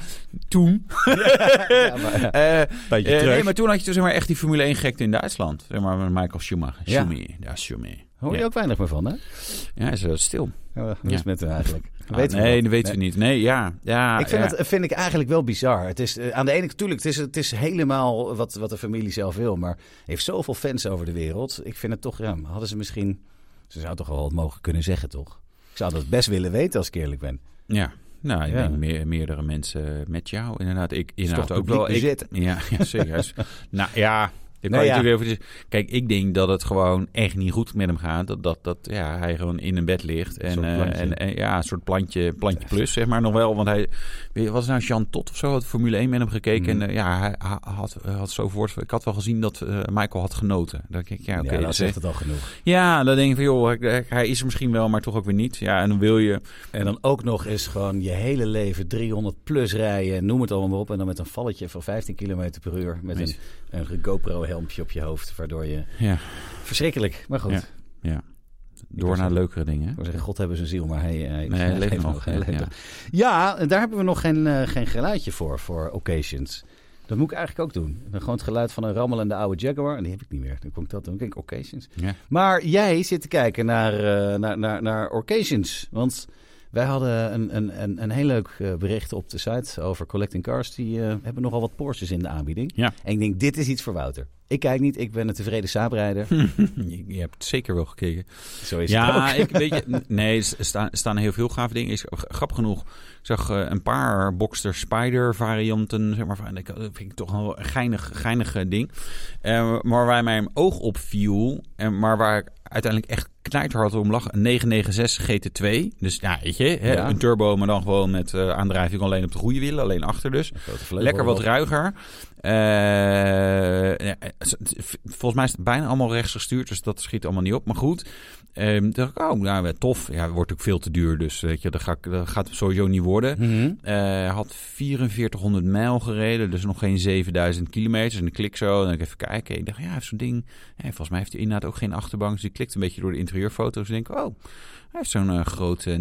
B: toen...
A: <laughs> Ja, maar, ja.
B: eh,
A: Beetje
B: Eh,
A: terug.
B: nee, maar toen had je dus, zeg maar, echt die Formule 1 gekte in Duitsland. Zeg maar met Michael Schumacher.
A: Ja.
B: Schumi, daar is Schumi.
A: Hoor je
B: Ja.
A: ook weinig meer van, hè?
B: Ja, hij is wel stil.
A: Ja, Hoe is het met hem eigenlijk?
B: Ah,
A: Weten we
B: nee,
A: dat?
B: dat weten we niet. Nee, ja. ja
A: Ik vind,
B: Ah, ja.
A: dat, vind ik eigenlijk wel bizar. Het is, eh, aan de ene kant, natuurlijk, het is, het is helemaal wat, wat de familie zelf wil. Maar heeft zoveel fans over de wereld. Ik vind het toch, ja, hadden ze misschien... Ze zou toch wel wat mogen kunnen zeggen, toch? Ik zou dat best willen weten als ik eerlijk ben.
B: Ja. Nou, ik
A: Ja.
B: denk meer, meerdere mensen met jou. Inderdaad, ik inderdaad
A: toch
B: ook wel.
A: publiek
B: Ik, ja, ja, <laughs> serieus. nou ja, ik kan
A: Nou ja.
B: natuurlijk even. Kijk, ik denk dat het gewoon echt niet goed met hem gaat. Dat, dat, dat ja, hij gewoon in een bed ligt. En,
A: soort
B: eh,
A: plantje.
B: en, en ja, een soort plantje, plantje plus, zeg maar nog wel. Want hij, weet je, was het nou Jean Tot of zo? Had Formule 1 met hem gekeken. En eh, ja, hij ha- had, eh, had zo voort. Ik had wel gezien dat eh, Michael had genoten. Dan denk ik, ja, oké. dus,
A: ja, dan
B: dat
A: zegt
B: is-
A: het al genoeg.
B: ja, dan denk ik van joh, hij- hij is er misschien wel, maar toch ook weer niet. Ja, en dan wil je.
A: En dan ook nog eens gewoon je hele leven 300 plus rijden. en Noem het allemaal maar op. En dan met een valletje van 15 km per uur. Met een, een GoPro-helmpje op je hoofd. Waardoor je...
B: Ja.
A: Verschrikkelijk, maar goed.
B: Ja. Door naar leukere dingen.
A: Ik wou zeggen, God hebben zijn ziel, maar hij, hij,
B: Nee, hij leeft nog.
A: hij leeft
B: ja.
A: Ja, en daar hebben we nog geen, eh, geen geluidje voor, voor occasions. Dat moet ik eigenlijk ook doen. Dan gewoon het geluid van een rammelende oude Jaguar. En die heb ik niet meer. Dan kon ik dat doen. Dan denk ik occasions.
B: Ja.
A: Maar jij zit te kijken naar, eh, naar, naar, naar occasions. Want wij hadden een, een, een, een heel leuk eh, bericht op de site over Collecting Cars. Die eh, hebben nogal wat Porsches in de aanbieding.
B: Ja.
A: En ik denk, dit is iets voor Wouter. Ik kijk niet, ik ben een tevreden saaprijder.
B: Je, je hebt zeker wel gekeken.
A: Zo is het ook.
B: Hm. Ja, ik weet je. Nee, er staan, er staan heel veel gave dingen. Is, grappig genoeg. Ik zag eh, een paar Boxster Spider varianten. Zeg maar, van- en ik, dat vind ik toch wel een geinig, geinig eh, ding. Eh, maar waar mij mijn oog op viel. En, maar waar ik uiteindelijk echt knijterhard om lag. Een 996 GT2. Dus ja, weet je. Hè,
A: Ja.
B: Een turbo, maar dan gewoon met eh, aandrijving alleen op de goede wielen. Alleen achter dus.
A: Grote vleugel
B: Lekker wat
A: erop.
B: ruiger. Eh, ja, eh, het- het- volgens mij is het bijna allemaal rechts gestuurd, dus dat schiet allemaal niet op. Maar goed, Ehm, toen dacht ik, oh, nou, eh, tof. Ja, het wordt ook veel te duur, dus weet je, dat, ga ik, dat gaat het sowieso niet worden.
A: Mhm.
B: Eh, had 4400 mijl gereden, dus nog geen 7000 kilometers. En ik klik zo en ik even kijken. Ik dacht, ja, hij heeft zo'n ding. Hé, volgens mij heeft hij inderdaad ook geen achterbank. Dus ik klikt een beetje door de interieurfoto's en denk, oh, hij heeft zo'n eh, groot eh,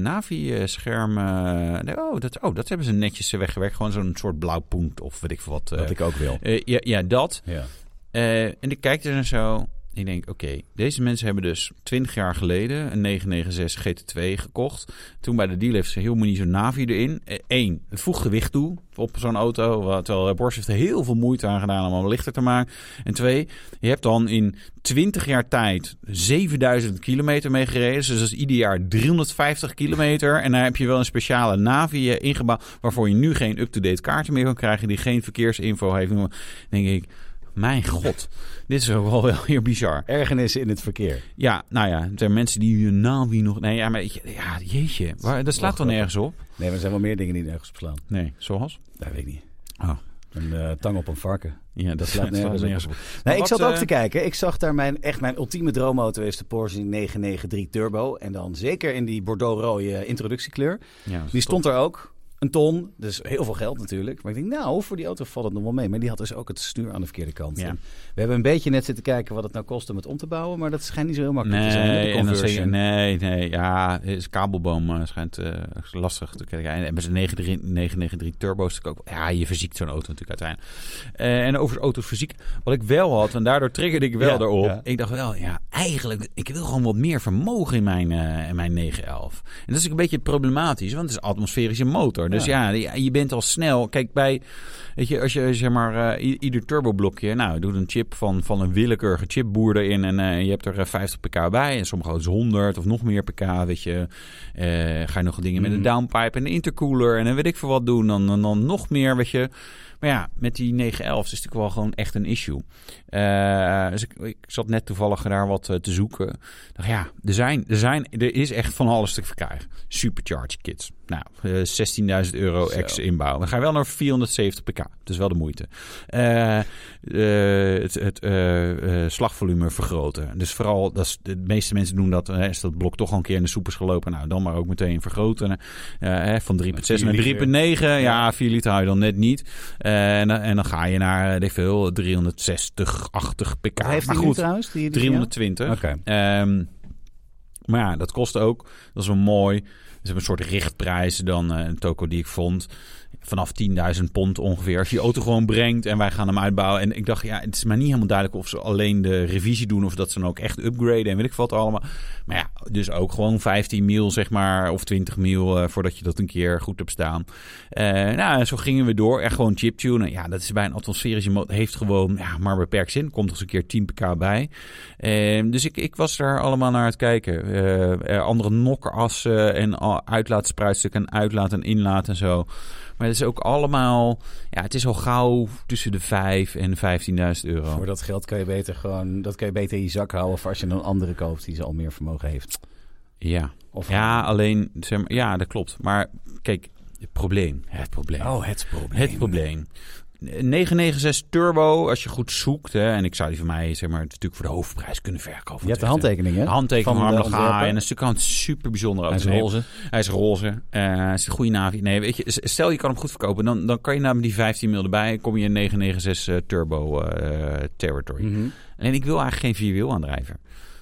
B: Navi-scherm. eh. Ik denk, oh, dat, oh, dat hebben ze netjes eh, weggewerkt. Gewoon zo'n soort blauw punt of weet ik veel wat. eh.
A: Wat ik ook wil.
B: Eh, ja, ja, dat.
A: Ja.
B: Eh, en ik kijk er en zo. En ik denk, oké, deze mensen hebben dus 20 jaar geleden een 996 GT2 gekocht. Toen bij de dealer heeft ze heel moeilijk zo'n Navi erin. Eén, het voegt gewicht toe op zo'n auto. wa- Terwijl eh, Porsche heeft er heel veel moeite aan gedaan om hem lichter te maken. En twee, je hebt dan in 20 jaar tijd 7000 kilometer mee gereden. Dus dat is ieder jaar 350 kilometer. En daar heb je wel een speciale Navi eh, ingebouwd... waarvoor je nu geen up-to-date kaarten meer kan krijgen... die geen verkeersinfo heeft. Dan denk ik, mijn god, dit is ook wel, wel heel bizar.
A: Ergernis in het verkeer.
B: Ja, nou ja, er zijn mensen die hun naam wie nog... Nee, ja, maar je- ja, jeetje, waar, dat slaat dan nergens op?
A: Nee, maar er zijn wel meer dingen die nergens op slaan.
B: Nee, zoals?
A: Dat weet ik niet.
B: Oh.
A: Een eh, tang op een varken.
B: Ja,
A: Dat
B: <laughs> dat
A: slaat
B: slaat
A: nergens op.
B: nergens op.
A: Nee, ik
B: wat,
A: zat ook
B: eh,
A: te kijken. Ik zag daar mijn, echt mijn ultieme droomauto is de Porsche 993 Turbo. En dan zeker in die bordeaux-rode introductiekleur.
B: Ja,
A: Die stond er ook. Een ton, dus heel veel geld natuurlijk. Maar ik denk, nou, voor die auto valt het nog wel mee. Maar die had dus ook het stuur aan de verkeerde kant.
B: Ja.
A: En We hebben een beetje net zitten kijken wat het nou kost om het om te bouwen. Maar dat schijnt niet zo heel makkelijk te zijn. hè, de
B: Nee, en dan zeg je,
A: conversion.
B: nee, nee, ja, is kabelboom eh, schijnt eh, lastig te kijken. En met zijn 993 turbo's natuurlijk ook. Ja, je verziekt zo'n auto natuurlijk uiteindelijk. Eh, en over auto's fysiek, wat ik wel had, en daardoor triggerde ik wel
A: Ja,
B: erop.
A: ja.
B: Ik dacht wel, ja, eigenlijk, ik wil gewoon wat meer vermogen in mijn, eh, in mijn 911. En dat is ook een beetje problematisch, want het is een atmosferische motor. Dus ja, ja, je bent al snel. Kijk, bij, weet je, als je zeg maar eh, i- ieder turboblokje, nou, doet een chip van, van een willekeurige chipboer erin en eh, je hebt er eh, 50 pk bij. En sommige auto's 100 of nog meer pk, weet je. Eh, ga je nog dingen met een downpipe en een intercooler en dan weet ik veel wat doen. Dan, dan, dan nog meer, weet je. Maar ja, met die 911 is natuurlijk wel gewoon echt een issue. Eh, dus ik, ik zat net toevallig daar wat eh, te zoeken. Ik Dacht, ja, er, zijn, er, zijn, er is echt van alles te verkrijgen. Supercharge kits. Nou, eh, 16.000 euro
A: Zo.
B: ex inbouw. Dan ga je wel naar 470 pk. Dat is wel de moeite. Eh, eh, het het eh, eh, slagvolume vergroten. Dus vooral, dat is, de meeste mensen doen dat. Hè, is dat blok toch al een keer in de soep is gelopen. Nou, dan maar ook meteen vergroten. Eh, hè, van 3,6 naar 3,9. Ja, 4 liter hou je dan net niet. Eh, en, dan- en dan ga je naar, weet ik veel, 360, 80 pk.
A: Wat heeft
B: maar
A: hij nu
B: goed,
A: trouwens? Die, die-
B: 320.
A: Oké.
B: Ehm, maar ja, dat kost ook. Dat is wel mooi. Ze hebben een soort richtprijs dan eh, een toko die ik vond. Vanaf 10.000 pond ongeveer. Als je je auto gewoon brengt en wij gaan hem uitbouwen. En ik dacht, ja, het is mij niet helemaal duidelijk of ze alleen de revisie doen. Of dat ze dan ook echt upgraden en weet ik wat allemaal. Maar ja, dus ook gewoon 15 mil, zeg maar. Of 20 mil eh, voordat je dat een keer goed hebt staan. Eh, nou, en zo gingen we door. Echt gewoon chiptunen. Ja, dat is bij een atmosferische motor. Heeft gewoon ja, maar beperkt zin. Komt er eens een keer 10 pk bij. Ehm, dus ik, ik was daar allemaal naar aan het kijken. Eh, eh, andere nokkerassen en al- uitlaatspruitstukken en uitlaat en inlaat en zo. Maar het is ook allemaal... Ja, het is al gauw tussen de 5 en 15.000 euro.
A: Voor dat geld kan je beter gewoon dat kan je beter in je zak houden. Of als je een andere koopt die ze al meer vermogen heeft.
B: Ja,
A: Of
B: ja alleen... Zeg maar, ja, dat klopt. Maar kijk, het probleem. Het probleem.
A: Oh, het probleem.
B: Het probleem. 996 Turbo, als je goed zoekt. Hè, en ik zou die van mij, zeg maar, natuurlijk voor de hoofdprijs kunnen verkopen.
A: Je hebt de handtekeningen.
B: Een handtekening van
A: Van eh, de
B: Harm de Gaai.
A: ontwerper.
B: En een stuk aan super bijzonder
A: Hij is
B: auto.
A: roze.
B: Hij is roze. Eh is een goede navi. Nee, weet je, s- stel je kan hem goed verkopen. Dan, dan kan je namelijk die 15 mil erbij. Kom je in 996 eh, Turbo eh, territory.
A: Mhm.
B: En ik wil eigenlijk geen vierwiel aandrijver.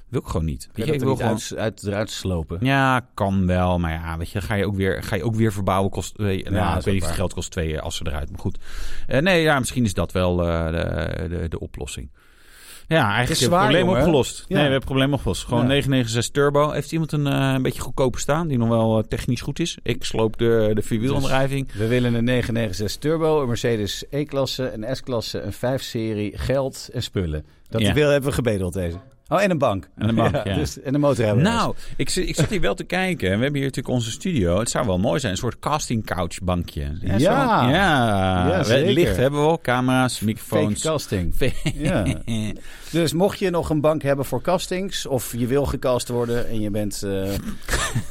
B: Wil ik gewoon niet.
A: Kan
B: Weet
A: je
B: je, ik
A: dat er
B: wil
A: niet
B: gewoon...
A: uit, uit, eruit slopen?
B: Ja, kan wel. Maar ja, weet je, ga je ook weer, ga je ook weer verbouwen. Kost, eh, nou,
A: dat is
B: ik
A: ook
B: weet niet of
A: waar.
B: het geld kost twee eh, als ze eruit. Maar goed. Eh, nee, ja, misschien is dat wel eh, de, de, de oplossing. Ja, eigenlijk
A: is
B: hebben we
A: zwaar,
B: het probleem
A: jongen.
B: opgelost.
A: Ja.
B: Nee, we hebben het probleem opgelost. Gewoon
A: Ja.
B: 996 Turbo. Heeft iemand een, eh, een beetje goedkoper staan die nog wel eh, technisch goed is? Ik sloop de, de vierwielaandrijving.
A: We willen een 996 Turbo, een Mercedes E-klasse, een S-klasse, een 5-serie, geld en spullen. Dat
B: Ja.
A: wil hebben we gebedeld deze. Oh, en een bank.
B: En een
A: <laughs>
B: bank, ja.
A: dus- en een motorrijder.
B: Nou, ik, zit- ik zat hier wel te kijken. We hebben hier natuurlijk onze studio. Het zou wel mooi zijn. Een soort casting couch bankje.
A: Ja.
B: zo. ja.
A: Ja,
B: We-
A: zeker.
B: Licht hebben we al. Camera's,
A: fake
B: microfoons. <laughs>
A: casting.
B: Fake-
A: Ja.
B: Eh,
A: Dus mocht je nog een bank hebben voor castings, of je wil gecast worden en je
B: <laughs>
A: bent eh,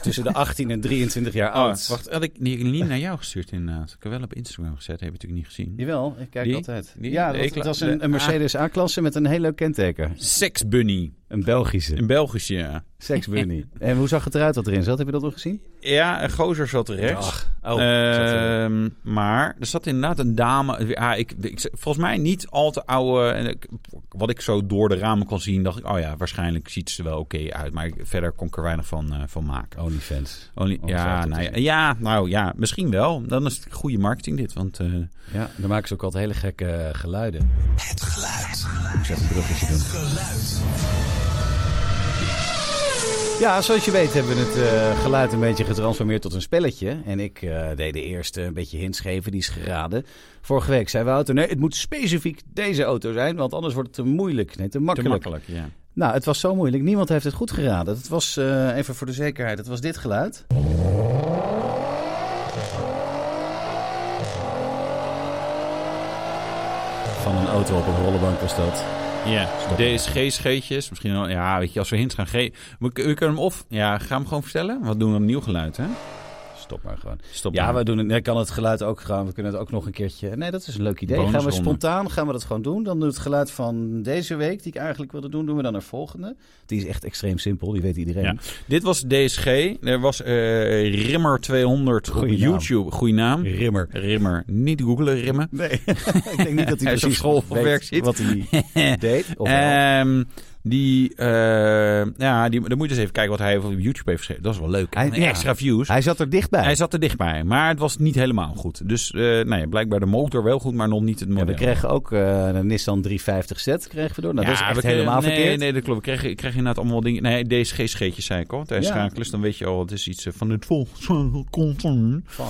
A: tussen de 18 en 23 jaar
B: Oh,
A: oud.
B: wacht, had ik die niet naar jou gestuurd inderdaad. Ik heb wel op Instagram gezet, heb je natuurlijk niet gezien.
A: Jawel, ik kijk
B: Die?
A: altijd.
B: Die?
A: Ja,
B: De
A: dat,
B: E-kla-
A: dat is
B: de Ah.
A: een, een
B: A-
A: Mercedes A-klasse met een heel leuk kenteken.
B: Sex Bunny,
A: Een Belgische.
B: een Belgische. ja.
A: Sex
B: <laughs>
A: Bunny. en hoe zag het eruit dat erin zat? Heb je dat nog gezien?
B: Ja, een gozer zat er rechts.
A: Oh,
B: Ehm, maar er zat inderdaad een dame. Ah, ik, ik, volgens mij niet al te oude. en ik- Wat ik zo door de ramen kon zien, dacht ik, oh ja, waarschijnlijk ziet ze wel oké uit. Maar ik- verder kon ik er weinig van, eh, van maken.
A: OnlyFans.
B: Only-
A: Oh, zou
B: ja,
A: het
B: nou, ja,
A: het
B: ja, nou ja, misschien wel. Dan is het goede marketing dit, want eh,
A: Ja, dan maken ze ook altijd hele gekke geluiden.
C: Het geluid.
A: Ik moet even een bruggetje doen. Ja, zoals je weet hebben we het eh, geluid een beetje getransformeerd tot een spelletje. En ik eh, deed de eerste een beetje hints geven, die is geraden. Vorige week zei Wouter, nee, het moet specifiek deze auto zijn, want anders wordt het te moeilijk. Nee, te
B: te
A: makkelijk.
B: makkelijk. Ja.
A: Nou, het was zo moeilijk. Niemand heeft het goed geraden. Het was, eh, even voor de zekerheid, het was dit geluid. Van een auto op een rollenbank was dat.
B: Ja, DSG-scheetjes. Misschien wel, ja, weet je, als we hints gaan geven. We, we kunnen hem of, ja, ga hem gewoon vertellen. Wat doen we een nieuw geluid, hè?
A: Stop maar gewoon.
B: Stop.
A: Ja,
B: maar.
A: we doen het, nee, kan het geluid ook gaan. We kunnen het ook nog een keertje. Nee, dat is een leuk idee. Gaan we
B: Bonusronde.
A: spontaan gaan we dat gewoon doen. Dan doen we het geluid van deze week, die ik eigenlijk wilde doen, doen we dan een volgende. Die is echt extreem simpel, die weet iedereen.
B: Ja. Dit was DSG. Er was eh, Rimmer 200 op
A: Goeie naam.
B: YouTube. Goeie naam.
A: Rimmer.
B: Rimmer. Niet googlen, Rimmer.
A: Nee, <laughs> ik denk niet dat
B: Hij
A: hij,
B: is op
A: precies
B: school of
A: weet
B: werk zit.
A: wat
B: <laughs>
A: hij deed. Of wel.
B: Ehm, die, eh, ja, die, dan moet je eens even kijken wat hij op YouTube heeft geschreven. Dat is wel leuk. hè?
A: Hij- ja.
B: Extra views.
A: hij zat er dichtbij.
B: Hij zat er dichtbij, maar het was niet helemaal goed. Dus eh, nou ja, blijkbaar de motor wel goed, maar nog niet het
A: Ja,
B: model.
A: we kregen ook eh, een Nissan 350Z kregen we door. Nou, dat is
B: Ja,
A: echt
B: we kregen-
A: helemaal
B: nee,
A: verkeerd.
B: Nee, dat klopt. We kregen, ik kreeg inderdaad allemaal dingen. Nee, DSG-scheetjes zei ik al. Tijdens
A: Ja.
B: schakelen, dan weet je al, het is iets eh, van het volksconcern.
A: Fuck.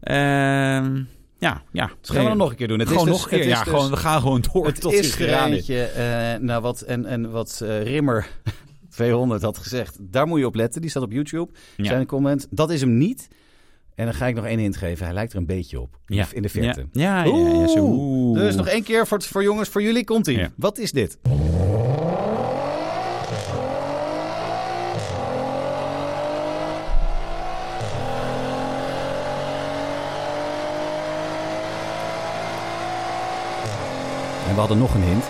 B: Ehm ja, ja.
A: Dat Dus gaan we dan nog een keer doen. Het
B: gewoon
A: is dus,
B: nog een keer.
A: Het is
B: Ja,
A: dus-
B: gewoon, we gaan gewoon door
A: Het
B: tot
A: is
B: hij geraden is.
A: gereintje, eh nou wat, en, en wat eh, Rimmer <laughs> 200 had gezegd. Daar moet je op letten. Die staat op YouTube.
B: Ja.
A: Zijn comment. Dat is hem niet. En dan ga ik nog één hint geven. Hij lijkt er een beetje op.
B: Ja.
A: In de verte.
B: Ja, ja, ja. ja, zo. Oeh.
A: Dus nog één keer voor, het- voor jongens, voor jullie komt ie.
B: Ja.
A: Wat is dit? En we hadden nog een hint.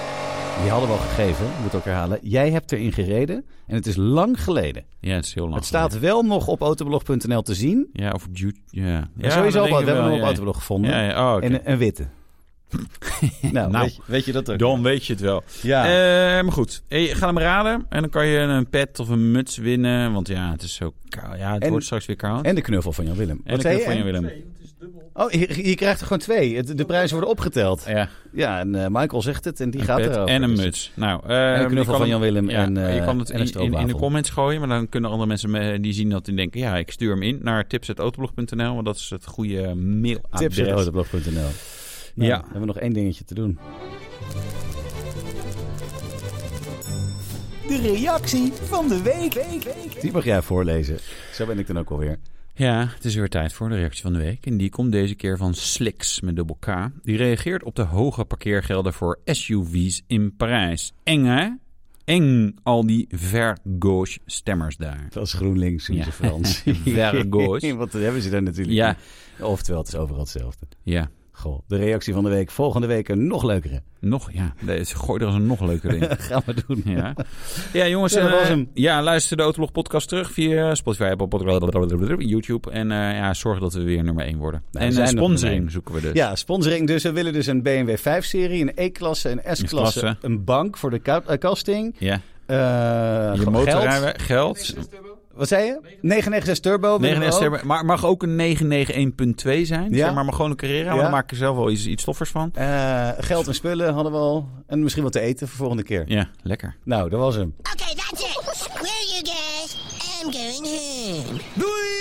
A: Die hadden we al gegeven, moet ook herhalen. Jij hebt erin gereden en het is lang geleden.
B: Oh, Ja, het is heel lang.
A: het staat wel nog op autoblog.nl te zien.
B: geleden. Ja, of op YouTube. Ja,
A: Ja, sowieso,
B: dat
A: we
B: denk ik
A: hebben hem
B: wel,
A: op
B: ja.
A: autoblog gevonden.
B: Ja, ja, oh, oké.
A: En een
B: <laughs>
A: witte. nou,
B: Nou,
A: weet, je, weet je dat ook?
B: Dan weet je het wel.
A: Ja.
B: Eh, maar goed, hey, ga hem raden. En dan kan je een pet of een muts winnen. Want ja, het is zo koud. Ja, het
A: En-
B: wordt straks weer koud.
A: en de knuffel van Jan Willem.
B: En
A: Wat
B: ik
A: zei
B: heb
A: je?
B: van je
A: En-
B: Willem.
D: Nee, want het is dubbel.
A: Oh, je, je krijgt er gewoon twee. Het- De prijzen worden opgeteld.
B: Ja,
A: Ja, en eh, Michael zegt het en die
B: een
A: gaat
B: pet
A: erover.
B: en een
A: Dus-
B: muts. Nou, eh,
A: En
B: je
A: een knuffel
B: kan
A: van
B: hem-
A: Jan Willem
B: Ja,
A: en, eh,
B: je kan het in,
A: en een
B: in, in de
A: stroopwafel.
B: comments gooien, maar dan kunnen andere mensen me- die zien dat en denken: ja, ik stuur hem in naar tips.autoblog.nl, want dat is het goede mailadres.
A: Tips.autoblog.nl nou,
B: Ja.
A: dan hebben we nog één dingetje te doen.
C: De reactie van de week.
A: Die mag jij voorlezen. Zo ben ik dan ook alweer.
B: Ja, het is weer tijd voor de reactie van de week. En die komt deze keer van Slix met dubbel K. Die reageert op de hoge parkeergelden voor SUV's in Parijs. Eng hè? Eng, al die ver gauche stemmers daar.
A: Dat is GroenLinks in
B: Ja.
A: de <laughs> Frans.
B: Very good.
A: Want dat hebben ze daar natuurlijk.
B: Ja,
A: Oftewel, het is overal hetzelfde.
B: ja.
A: Goh, de reactie van de week. Volgende week een nog leukere.
B: Nog, ja. Nee, ze Gooi er eens een nog leuker in.
A: <laughs> Gaan we doen.
B: Ja, ja jongens.
A: Ja, dat
B: eh,
A: was hem.
B: ja, luister de Autoblog podcast terug via Spotify, Apple Podcast, YouTube. En eh, ja, zorg dat we weer nummer 1 worden.
A: Nou, we
B: en eh,
A: zijn nog nummer
B: sponsoring
A: één.
B: zoeken we dus.
A: Ja, sponsoring dus. We willen dus een BMW 5-serie, een E-klasse, een S-klasse,
B: klasse.
A: een bank voor de ka- eh, kasting.
B: ja.
A: Eh,
B: Je
A: geld.
B: motorrijden, geld.
A: Wat zei je? 996 Turbo. willen we
B: 99
A: ook.
B: sterren, maar mag ook een 991.2 zijn.
A: Ja.
B: Zeg maar, maar gewoon een Carrera, want
A: Ja.
B: dan maak ik er zelf wel iets, iets stoffers van.
A: Eh, geld en spullen hadden we al. En misschien wat te eten voor volgende keer.
B: Ja, lekker.
A: Nou, dat was hem.
E: Okay, that's it. Where you guys? I'm going home.
C: Doei!